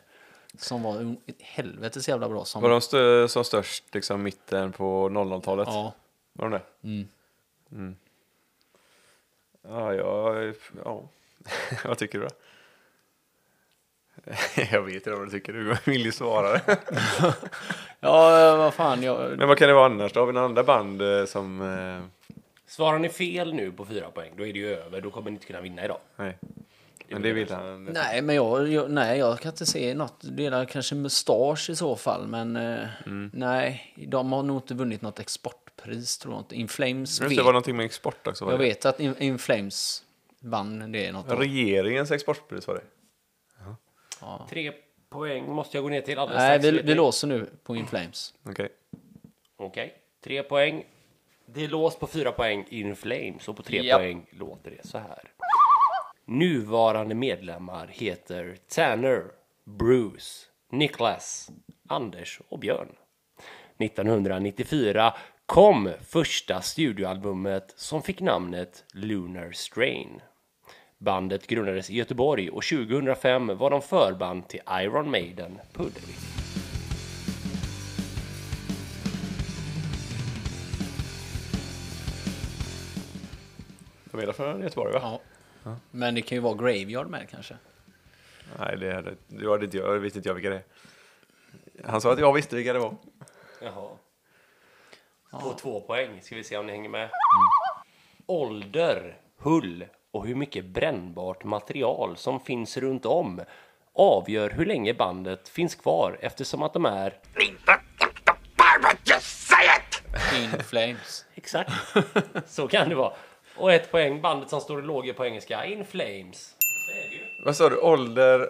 Speaker 2: Som var en- helvetes jävla bra. Som,
Speaker 3: Var de stö- som störst liksom mitten på 00-talet?
Speaker 2: Ja.
Speaker 3: Var de det?
Speaker 2: Mm.
Speaker 3: Mm. Ja, jag... Ja. vad tycker du då? jag vet inte vad du tycker, du vill ju svara.
Speaker 2: Ja, vad fan. Jag,
Speaker 3: Men vad kan det vara annars då? Har vi några andra band eh, som... Eh,
Speaker 1: Svarar ni fel nu på fyra poäng, då är det ju över. Då kommer ni inte kunna vinna idag.
Speaker 3: nej. Men det vill han.
Speaker 2: nej, men jag, jag, nej, jag kan inte se något. Det är där kanske mustasch i så fall. Men eh,
Speaker 3: Mm.
Speaker 2: nej, de har nog inte vunnit något exportpris tror jag inte. In Flames
Speaker 3: Men
Speaker 2: vet
Speaker 3: det var någonting med export också. Var
Speaker 2: Jag
Speaker 3: det?
Speaker 2: vet att In, In Flames vann det något år.
Speaker 3: Regeringens exportpris var det.
Speaker 1: Tre poäng måste jag gå ner till alldeles
Speaker 2: Nej, vi,
Speaker 1: strax.
Speaker 2: vi låser nu på In Flames.
Speaker 3: Okej.
Speaker 1: Okej, tre poäng. Det är låst på fyra poäng in flames och på tre
Speaker 2: Japp.
Speaker 1: poäng låter det så här. Nuvarande medlemmar heter Tanner, Bruce, Niklas, Anders och Björn. 1994 kom första studioalbumet som fick namnet Lunar Strain. Bandet grundades i Göteborg och 2005 var de förband till Iron Maiden Puddevik.
Speaker 3: De är där från Göteborg va?
Speaker 2: Ja. Men det kan ju vara Graveyard med kanske.
Speaker 3: Nej, det hade, det hade inte jag. Det visste inte jag vilka det är. Han sa att jag visste vilka det var.
Speaker 1: Jaha. På två poäng. Ska vi se om ni hänger med.
Speaker 3: Mm.
Speaker 1: Ålder, hull och hur mycket brännbart material som finns runt om avgör hur länge bandet finns kvar eftersom att de är
Speaker 2: In Flames.
Speaker 1: exakt. Så kan det vara. Och ett poäng. Bandet som står i lågor på engelska. In Flames.
Speaker 3: Vad sa du? Ålder?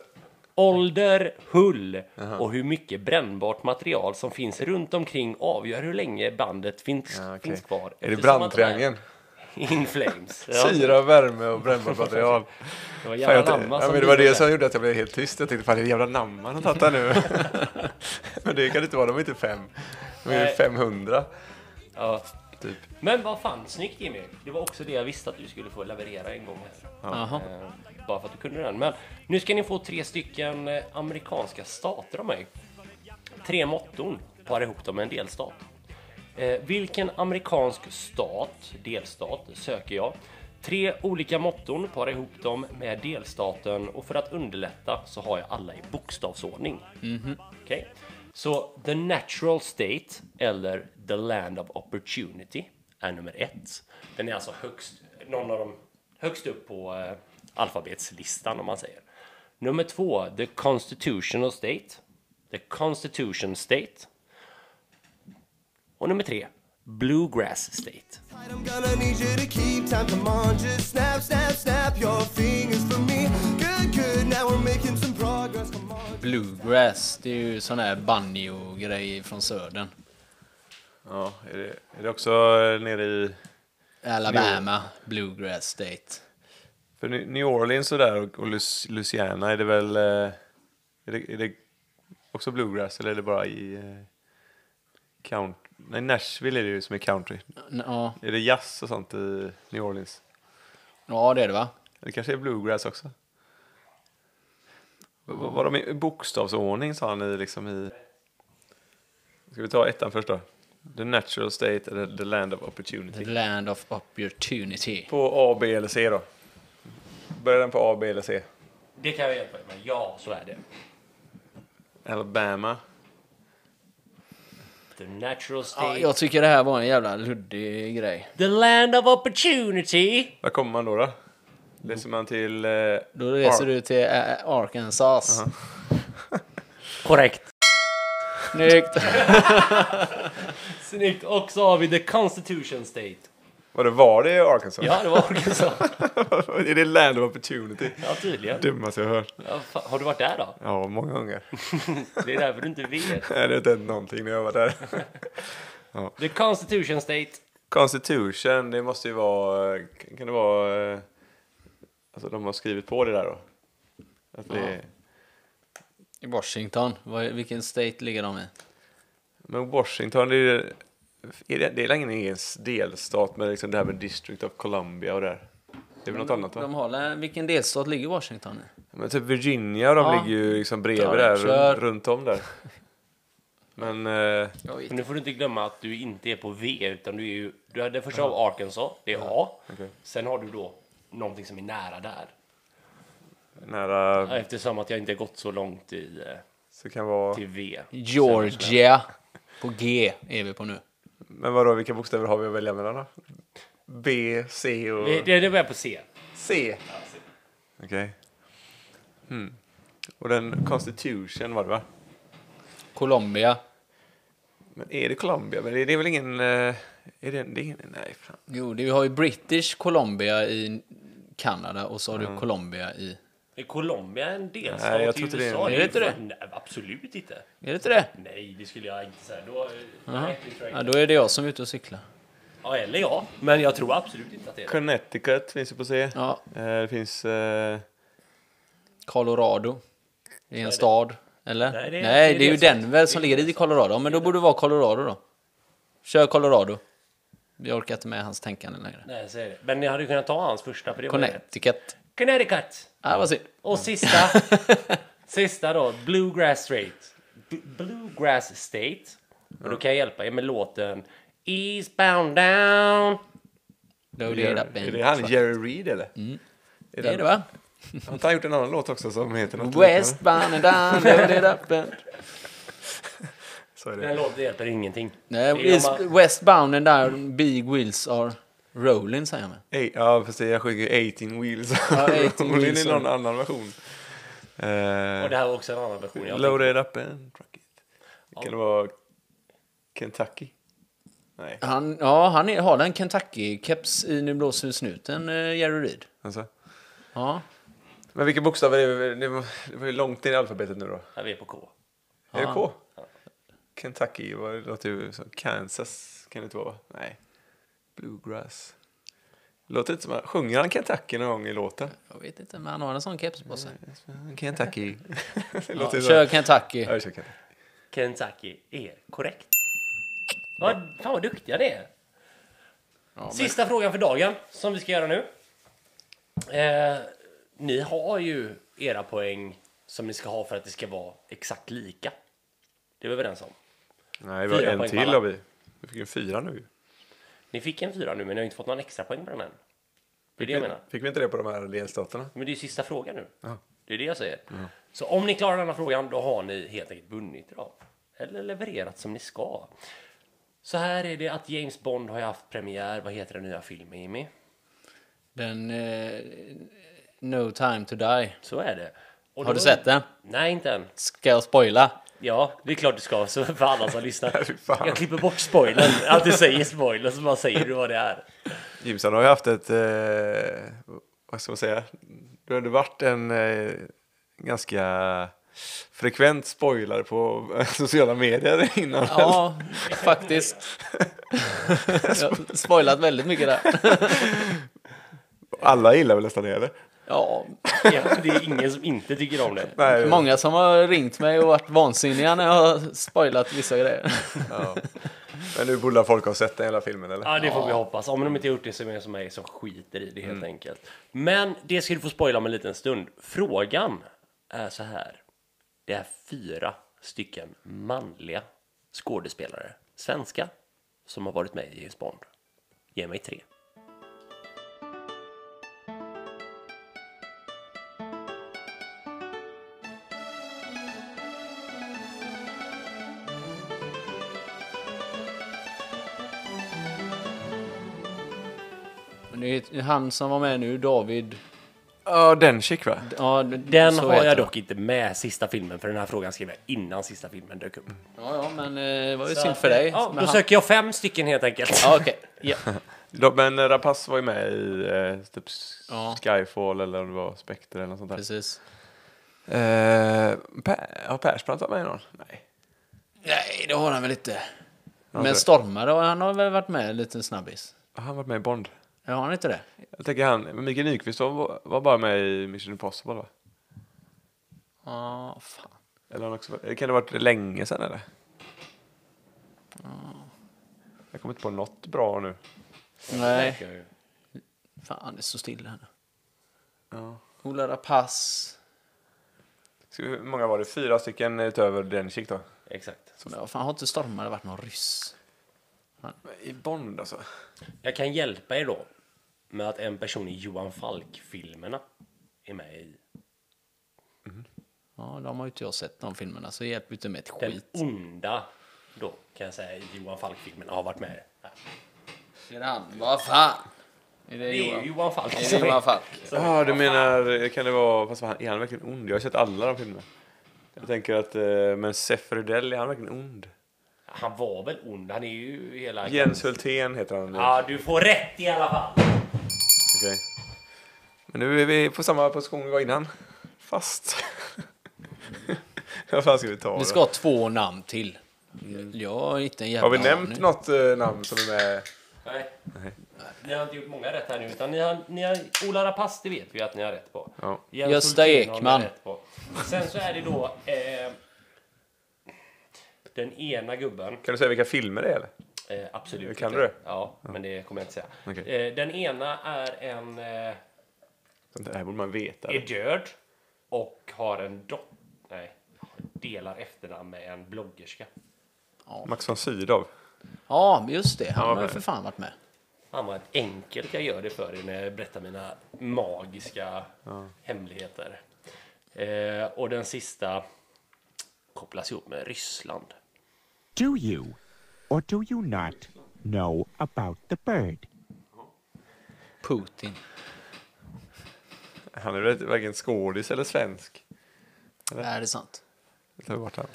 Speaker 1: Ålder, hull och hur mycket brännbart material som finns runt omkring avgör hur länge bandet finns,
Speaker 3: Ja, okej.
Speaker 1: finns kvar.
Speaker 3: Är det
Speaker 1: eftersom att de är
Speaker 3: brandtriangeln?
Speaker 1: In Flames. Ja.
Speaker 3: Syra, värme och brännbart material.
Speaker 1: Det var
Speaker 3: Fan,
Speaker 1: jävla
Speaker 3: jag,
Speaker 1: namma
Speaker 3: ja,
Speaker 1: som
Speaker 3: men det
Speaker 1: bidrog
Speaker 3: var det
Speaker 1: där.
Speaker 3: som gjorde att jag blev helt tyst. Jag tänkte fan det är jävla namn han har tagit här nu. men det kan det inte vara, de är inte fem. De är ju
Speaker 1: Nej.
Speaker 3: 500.
Speaker 1: Ja.
Speaker 3: Typ.
Speaker 1: Men vad fan, snyggt Jimmy. Det var också det jag visste att du skulle få leverera en gång här.
Speaker 2: Jaha.
Speaker 1: Eh, bara för att du kunde den. Men nu ska ni få tre stycken eh, amerikanska stater av mig. Tre motton, para ihop dem med en delstat. Eh, vilken amerikansk stat, delstat, söker jag? Tre olika motton, para ihop dem med delstaten och för att underlätta så har jag alla i bokstavsordning. Okej? Så The Natural State eller The Land of Opportunity är nummer ett. Den är alltså högst, någon av dem, högst upp på eh, alfabetslistan om man säger. Nummer två, The Constitutional State. The Constitution State. Och nummer tre, Bluegrass State.
Speaker 7: I'm gonna need you to keep time. Come on, just snap, snap, snap your fingers for me. Good, good. Now we're making some progress. Come on.
Speaker 2: Bluegrass, det är ju sån här banjo-grej från södern.
Speaker 3: Ja, är det, är det också eh, nere i...
Speaker 2: Alabama, Bluegrass State.
Speaker 3: För New New Orleans och där och, och Lus- Louisiana är det väl... eh, Är det, är det också bluegrass eller är det bara i... eh, Count... Nej, Nashville är det ju som är country.
Speaker 2: N- Ja,
Speaker 3: Är det jazz och sånt i New Orleans?
Speaker 2: ja det är det va?
Speaker 3: Det kanske är bluegrass också? V- v- Var de i bokstavsordning sa han i liksom i... Ska vi ta ettan först då? The natural state eller the land of
Speaker 2: The
Speaker 3: opportunity?
Speaker 2: Land of Opportunity.
Speaker 3: På A, B eller C då? Börjar den på A, B eller C?
Speaker 1: Det kan jag hjälpa er med. Ja, så är det.
Speaker 3: Alabama.
Speaker 1: The Natural
Speaker 2: Ja,
Speaker 1: State.
Speaker 2: jag tycker det här var en jävla luddig grej.
Speaker 1: The Land of Opportunity.
Speaker 3: Var kommer man då? då? Läser man till... Eh,
Speaker 2: Mm. Då reser
Speaker 3: Ar-
Speaker 2: du till eh, Arkansas.
Speaker 1: Korrekt.
Speaker 2: Snyggt!
Speaker 1: Snyggt. Och så har vi The Constitution State.
Speaker 3: Var det, var det i Arkansas?
Speaker 1: Ja, det var Arkansas.
Speaker 3: är det land of opportunity?
Speaker 1: Ja, tydligen.
Speaker 3: Dummaste jag hört.
Speaker 1: Ja, fa- har du varit där då?
Speaker 3: Ja, många gånger.
Speaker 1: Det är därför du inte vet.
Speaker 3: Nej, det har inte hänt någonting när jag var där.
Speaker 1: The Constitution State.
Speaker 3: Constitution, det måste ju vara... eh, Kan det vara... eh, Alltså de har skrivit på det där då? Att det,
Speaker 2: I Washington, Vad- vilken state ligger de i?
Speaker 3: Men Washington, det är, ju- är det, det är ingen egen delstat med liksom det här med District of Columbia och där. Det är väl något annat va?
Speaker 2: De har, lä- vilken delstat ligger Washington i?
Speaker 3: Men typ Virginia, de
Speaker 2: Ja.
Speaker 3: ligger ju liksom
Speaker 2: Ja,
Speaker 3: bredvid där,
Speaker 2: kör.
Speaker 3: runt, runt om där. Men eh,
Speaker 1: Men nu får du inte glömma att du inte är på V, utan du är ju... Du hade första av Arkansas, det är A.
Speaker 3: okej.
Speaker 1: Sen har du då någonting som är nära där.
Speaker 3: nära
Speaker 1: Ja, Eftersom att jag inte har gått så långt i, eh,
Speaker 3: så kan vara...
Speaker 2: Typ.
Speaker 1: till V.
Speaker 2: Georgia. På G är vi på nu.
Speaker 3: Men vadå, vilka bokstäver har vi att välja mellan då? B, C och...
Speaker 1: Det, det, det börjar på C.
Speaker 3: C! Okej. Mm. Och den Constitution var det va?
Speaker 2: Colombia.
Speaker 3: Men är det Colombia? Men det, det är väl ingen... eh, Är det, det är ingen... Nej, fan.
Speaker 2: Jo, det- vi har ju British Columbia i Kanada och så har du Colombia i...
Speaker 1: Är Colombia en delstat
Speaker 3: Nej, jag
Speaker 1: i
Speaker 3: tror inte det är-
Speaker 1: USA?
Speaker 2: Är det inte det?
Speaker 1: Nej, absolut inte.
Speaker 2: Är det inte det?
Speaker 1: Nej, det skulle jag inte säga. Då, eh, nej, det tror jag
Speaker 2: Ja,
Speaker 1: inte.
Speaker 2: då är det jag som är ute och cyklar.
Speaker 1: Ja, eller ja. Men jag tror absolut inte att det är det.
Speaker 3: Connecticut finns ju på C.
Speaker 2: Ja,
Speaker 3: Eh, Det finns... eh,
Speaker 2: Colorado. Det är en stad, eller?
Speaker 1: Nej,
Speaker 2: Nej,
Speaker 1: det
Speaker 2: det
Speaker 1: är-
Speaker 2: är,
Speaker 1: det är
Speaker 2: ju
Speaker 1: det som-
Speaker 2: Denver som ligger i Colorado. Men då borde det vara Colorado då. Kör Colorado. Jag orkar inte med hans tänkande längre.
Speaker 1: Nej, jag säger det. Men ni hade ju kunnat ta hans första, för det var ju rätt.
Speaker 2: Connecticut.
Speaker 1: Connecticut!
Speaker 2: Ah, vad synd.
Speaker 1: Och sista, sista då, Bluegrass State. B- Bluegrass State. Och då kan jag hjälpa er med låten Eastbound Down.
Speaker 2: Load it
Speaker 3: Jerry,
Speaker 2: up,
Speaker 3: är
Speaker 2: baby.
Speaker 3: det han Jerry Reed eller? Är
Speaker 2: Mm. Det är
Speaker 3: den-
Speaker 2: det va?
Speaker 3: Har inte han gjort en annan låt också som heter något liknande?
Speaker 2: Westbound and down, load it up and...
Speaker 3: Så är
Speaker 1: Den
Speaker 3: det.
Speaker 1: låten hjälper ingenting.
Speaker 2: Nej,
Speaker 1: Det är om
Speaker 2: it's
Speaker 1: man-
Speaker 2: Westbound and down, big wheels are rolling säger jag med.
Speaker 3: Ej- Ja, fast jag sjunger 18 Wheels.
Speaker 2: Ja, 18
Speaker 3: Hon är
Speaker 2: Wheels.
Speaker 3: i någon annan version. Eh,
Speaker 1: Och det här var också en annan version. Jag
Speaker 3: Load it up and truck it. Kan det vara Kentucky? Nej,
Speaker 2: Han, ja, han är, har den Kentucky-keps i Nu blåser snuten, eh, Jerry Reed.
Speaker 3: alltså.
Speaker 2: Ja,
Speaker 3: Men vilka bokstäver är det? Det var, det var ju långt ner i alfabetet nu då.
Speaker 1: tänkte- här, vi är på K.
Speaker 3: Är det K? Kentucky, vad det låter ju som Kansas. Kan det inte vara va? Nej. Bluegrass. Låter inte som han, sjunger han Kentucky någon gång i låten?
Speaker 2: jag vet inte, men han har en sån keps på sig.
Speaker 3: Kentucky. det
Speaker 2: Ja,
Speaker 3: låter
Speaker 2: kör
Speaker 3: ja,
Speaker 2: Kentucky.
Speaker 3: Ja, jag kör Kentucky.
Speaker 1: Kentucky är korrekt. Vad, fan vad duktiga ni är. Sista frågan för dagen som vi ska göra nu. Eh, ni har ju era poäng som ni ska ha för att det ska vara exakt lika. Det är vi överens om.
Speaker 3: Nej, vi har
Speaker 1: Fyra
Speaker 3: en
Speaker 1: poäng
Speaker 3: till
Speaker 1: på alla.
Speaker 3: har vi. Vi fick en fyra nu.
Speaker 1: Ni fick en fyra nu, men ni har inte fått någon extra poäng på den än. Det är det jag menar.
Speaker 3: Fick vi inte det på de här delstaterna?
Speaker 1: Men det är ju sista frågan nu. Det är det jag säger. Så om ni klarar denna frågan, då har ni helt enkelt vunnit idag. eller levererat som ni ska. Så här är det att James Bond har ju haft premiär. Vad heter den nya filmen, Jimmy?
Speaker 2: Den... Eh, no time to die.
Speaker 1: Så är det. Och
Speaker 2: Har
Speaker 1: då-
Speaker 2: du sett den?
Speaker 1: Nej, inte än.
Speaker 2: Ska jag spoila?
Speaker 1: Ja, det är klart du ska, så för alla som lyssnar.
Speaker 3: fan.
Speaker 1: Jag klipper bort spoilern. Att du säger spoilern, så bara säger du vad det är.
Speaker 3: Jimsan har ju haft ett, eh, vad ska man säga, det har varit en eh, ganska frekvent spoiler på sociala medier innan.
Speaker 2: Ja, faktiskt. jag har spoilat väldigt mycket där.
Speaker 3: Alla gillar väl nästan det eller?
Speaker 2: Ja,
Speaker 1: Ja, det är ingen som inte tycker om det.
Speaker 3: Nej,
Speaker 2: många som har ringt mig och varit vansinniga när jag har spoilat vissa grejer.
Speaker 3: Men nu borde folk ha sett den hela filmen eller?
Speaker 1: Ja, det får vi hoppas. Om de inte har gjort det så är det som mig som skiter i det
Speaker 2: Mm.
Speaker 1: helt enkelt. Men det ska du få spoila om en liten stund. Frågan är så här. Det är fyra stycken manliga skådespelare, svenska, som har varit med i James Bond. Ge mig tre.
Speaker 2: Men det är han som var med nu, David.
Speaker 3: Ja, den chick va?
Speaker 2: Ja,
Speaker 1: Den
Speaker 2: så
Speaker 1: har
Speaker 2: heter
Speaker 1: jag
Speaker 2: han.
Speaker 1: dock inte med sista filmen, för den här frågan skrev jag innan sista filmen dök upp.
Speaker 2: Ja, ja, men eh, det var ju
Speaker 1: Så
Speaker 2: synd
Speaker 1: att,
Speaker 2: för
Speaker 1: eh,
Speaker 2: dig.
Speaker 1: Ja,
Speaker 2: Men
Speaker 1: då
Speaker 2: han-
Speaker 1: söker jag fem stycken helt enkelt.
Speaker 2: Ja, okej.
Speaker 3: De- Men Rapace var ju med i eh, typ s-
Speaker 2: Ja.
Speaker 3: Skyfall eller om det var Spectre eller något sånt där.
Speaker 2: Precis.
Speaker 3: Eh, per, har Persbrandt varit med i någon? Nej.
Speaker 2: Nej, det har han väl inte.
Speaker 3: det-
Speaker 2: Men Stormare, har- han har väl varit med en liten snabbis?
Speaker 3: Har Han har varit med i Bond.
Speaker 2: Ja, har han inte det?
Speaker 3: Jag tänker han, Mikael Nyqvist var, var bara med i Mission Impossible va?
Speaker 2: Ja, fan.
Speaker 3: Eller han också, var- kan det ha varit länge sedan eller? Jag kommer inte på något bra nu.
Speaker 2: Nej. Fan, det står still här nu. Ola Rapace.
Speaker 3: Ska vi, hur många var det? Fyra stycken utöver Denicik då?
Speaker 1: Exakt.
Speaker 2: Men vad fan, har inte Stormare varit någon ryss?
Speaker 3: I Bond alltså?
Speaker 1: Jag kan hjälpa er då med att en person i Johan Falk-filmerna är med i.
Speaker 2: Ja, de har ju inte jag sett de filmerna, så det hjälper ju inte med ett
Speaker 1: Den
Speaker 2: skit.
Speaker 1: onda då kan jag säga i Johan Falk-filmerna har varit med. här.
Speaker 2: Är det han? Vad fan? Är det
Speaker 1: Det är ju
Speaker 2: Johan?
Speaker 1: Johan Falk.
Speaker 2: Är
Speaker 1: som
Speaker 2: det
Speaker 1: är-
Speaker 2: Johan Falk?
Speaker 3: Ja, ah, du menar, kan det vara, fast vad han, är han verkligen ond? Jag har sett alla de filmerna. Jag tänker att, eh, men Seffredell, är han verkligen ond?
Speaker 1: Han var väl ond? Han är ju hela...
Speaker 3: Jens Hultén heter han. nu.
Speaker 1: Ja, du får rätt i alla fall.
Speaker 3: Okej. Men nu är vi på samma position vi var innan. Fast. vad fan ska vi ta
Speaker 2: Vi
Speaker 3: då?
Speaker 2: ska ha två namn till. Jag har inte en jävla
Speaker 3: Har vi nämnt
Speaker 2: aning.
Speaker 3: något eh, namn som är med?
Speaker 1: Nej. Ni har inte gjort många rätt här nu, utan ni har, ni har Ola Rapace, det vet vi att ni har rätt på.
Speaker 3: Ja.
Speaker 1: Jens
Speaker 2: Gösta
Speaker 1: Hultin har ni
Speaker 2: Ekman.
Speaker 1: rätt på. Sen så är det då eh, den ena gubben.
Speaker 3: Kan du säga vilka filmer det är eller?
Speaker 1: Eh, absolut.
Speaker 3: Kan
Speaker 1: inte.
Speaker 3: du det?
Speaker 1: Ja, men det kommer jag inte säga.
Speaker 3: Okej.
Speaker 1: Eh, den ena är en eh,
Speaker 3: Sånt här borde man veta.
Speaker 1: är död och har en dotter. Nej, delar efternamn med en bloggerska.
Speaker 3: Max von Sydow.
Speaker 2: Ja, just det. Han har ju
Speaker 3: men-
Speaker 2: för fan varit med.
Speaker 1: Han var ett enkelt jag gör det för er när jag berättar mina magiska hemligheter. Eh, och den sista kopplas ihop med Ryssland.
Speaker 8: Do you or do you not know about the bird?
Speaker 2: Putin.
Speaker 3: Han är väl varken skådis eller svensk.
Speaker 2: Det här är sant.
Speaker 3: Jag tar bort han.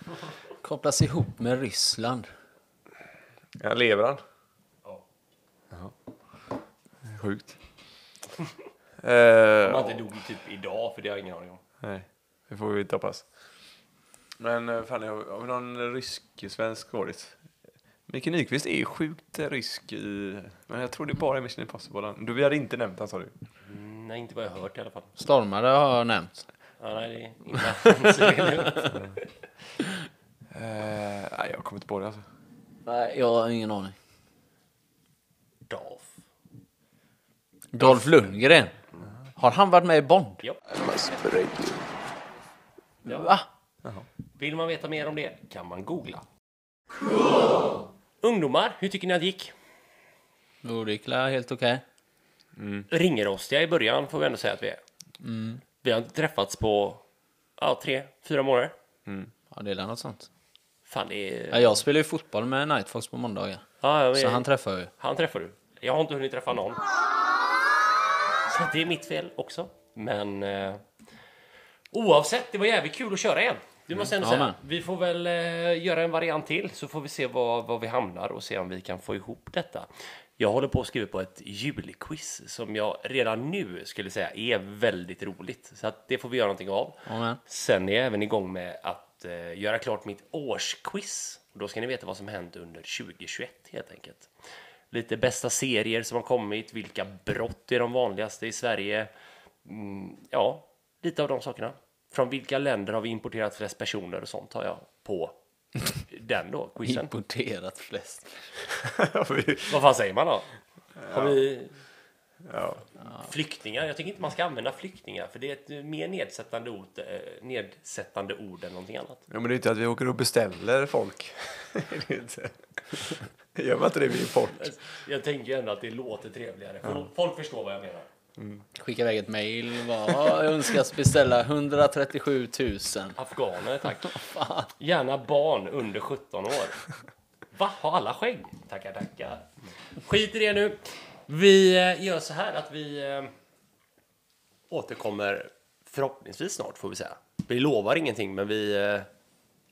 Speaker 2: Kopplas ihop med Ryssland.
Speaker 3: Ja, lever han?
Speaker 1: Ja.
Speaker 3: Jaha. Sjukt.
Speaker 1: Om
Speaker 3: eh,
Speaker 1: han inte dog typ idag, för det har jag ingen aning om.
Speaker 3: nej, det får vi inte hoppas. Men eh, fan, har vi- har vi någon rysk-svensk skådis? Micke Nyqvist är ju sjukt eh, rysk i... Men jag tror det bara är Mission Impossible. han- Du, vi hade inte nämnt han sa du.
Speaker 1: Nej, inte vad jag har hört i alla fall.
Speaker 2: Stormare har jag nämnt.
Speaker 1: Ja, nej, det är inga- så det är lugnt.
Speaker 3: Eh, nej, jag kommer inte på det alltså.
Speaker 2: Nej, jag har ingen aning.
Speaker 1: Dolph.
Speaker 2: Dolph Lundgren. Har han varit med i Bond?
Speaker 1: Ja.
Speaker 2: Va?
Speaker 1: Vill man veta mer om det kan man googla. Ungdomar, hur tycker ni att det gick?
Speaker 2: Jo, det gick väl helt okej.
Speaker 1: Ringrostiga i början får vi ändå säga att vi är.
Speaker 2: Mm.
Speaker 1: Vi har inte träffats på ja, tre, fyra månader.
Speaker 2: Ja, det är väl något sånt.
Speaker 1: Fan, det är...
Speaker 2: Ja, jag spelar ju fotboll med Nightfox på måndagar.
Speaker 1: Ja, jag
Speaker 2: Så
Speaker 1: vet.
Speaker 2: han träffar ju.
Speaker 1: Han träffar du. Jag har inte hunnit träffa någon. Så det är mitt fel också. Men eh, oavsett, det var jävligt kul att köra igen. Du måste ändå
Speaker 2: Ja,
Speaker 1: säga,
Speaker 2: men.
Speaker 1: vi får väl eh, göra en variant till så får vi se var, var vi hamnar och se om vi kan få ihop detta. Jag håller på att skriva på ett julquiz som jag redan nu skulle säga är väldigt roligt. Så att det får vi göra någonting av.
Speaker 2: Amen.
Speaker 1: Sen är jag även igång med att eh, göra klart mitt årsquiz. Och Då ska ni veta vad som hänt under 2021 helt enkelt. Lite bästa serier som har kommit, vilka brott är de vanligaste i Sverige? Mm, ja, lite av de sakerna. Från vilka länder har vi importerat flest personer och sånt har jag på den då, quizen.
Speaker 2: Importerat flest.
Speaker 3: Vi-
Speaker 1: Vad fan säger man då? Har vi
Speaker 3: ja.
Speaker 1: flyktingar? Jag tycker inte man ska använda flyktingar för det är ett mer nedsättande ord, eh, nedsättande ord än någonting annat.
Speaker 3: Ja, men det är inte att vi åker och beställer folk. det är inte. Gör man inte det vid import?
Speaker 1: Jag tänker ändå att det låter trevligare. Folk- Folk förstår vad jag menar.
Speaker 2: Skicka iväg ett mail. Bara, "Ja, jag önskas beställa 137 000.
Speaker 1: Afghaner, tack. Gärna barn under 17 år. Va? Har alla skägg? Tackar, tackar. Skit i det nu. Vi eh, gör så här att vi eh, återkommer förhoppningsvis snart, får vi säga. Vi lovar ingenting, men vi, eh,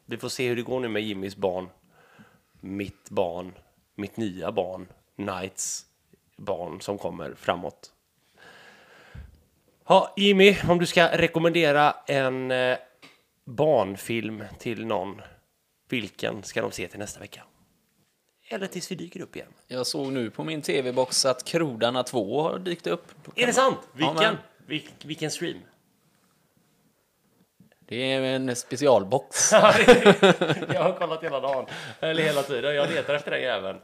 Speaker 1: vi får se hur det går nu med Jimmys barn, mitt barn, mitt nya barn, Knights barn som kommer framåt. Ja, Jimmy, om du ska rekommendera en eh, barnfilm till någon, vilken ska de se till nästa vecka? Eller tills vi dyker upp igen.
Speaker 2: Jag såg nu på min tv-box att Krodarna 2 har dykt upp. Då kan
Speaker 1: Är det
Speaker 2: man-
Speaker 1: sant? Vilken?
Speaker 2: Ja, men
Speaker 1: Vil- vilken stream?
Speaker 2: det är en specialbox.
Speaker 1: jag har kollat hela dagen, eller hela tiden. Jag letar efter den jäveln.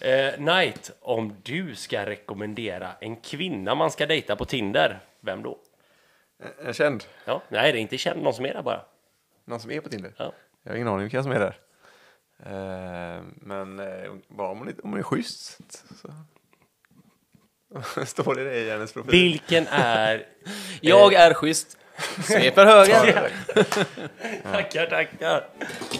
Speaker 1: Eh, Knight, om du ska rekommendera en kvinna man ska dejta på Tinder, vem då?
Speaker 3: Jag känd.
Speaker 1: Ja, nej, det är inte känd, någon som är där bara.
Speaker 3: Någon som är på Tinder?
Speaker 1: Ja.
Speaker 3: Jag har ingen aning vilka som är där. Eh, men eh, bara om hon, är- om hon är schysst. Så. Står det det i hennes profil?
Speaker 1: Vilken är...
Speaker 2: Jag är schysst. Sveper höger.
Speaker 1: Tackar, tackar.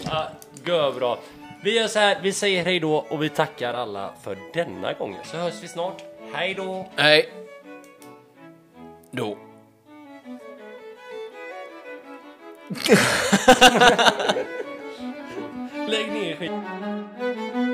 Speaker 1: Ja, gör bra. Vi gör så här, vi säger hej då och vi tackar alla för denna gången. Så hörs vi snart. Hej då!
Speaker 2: Nej. Då.
Speaker 1: Lägg ner skit.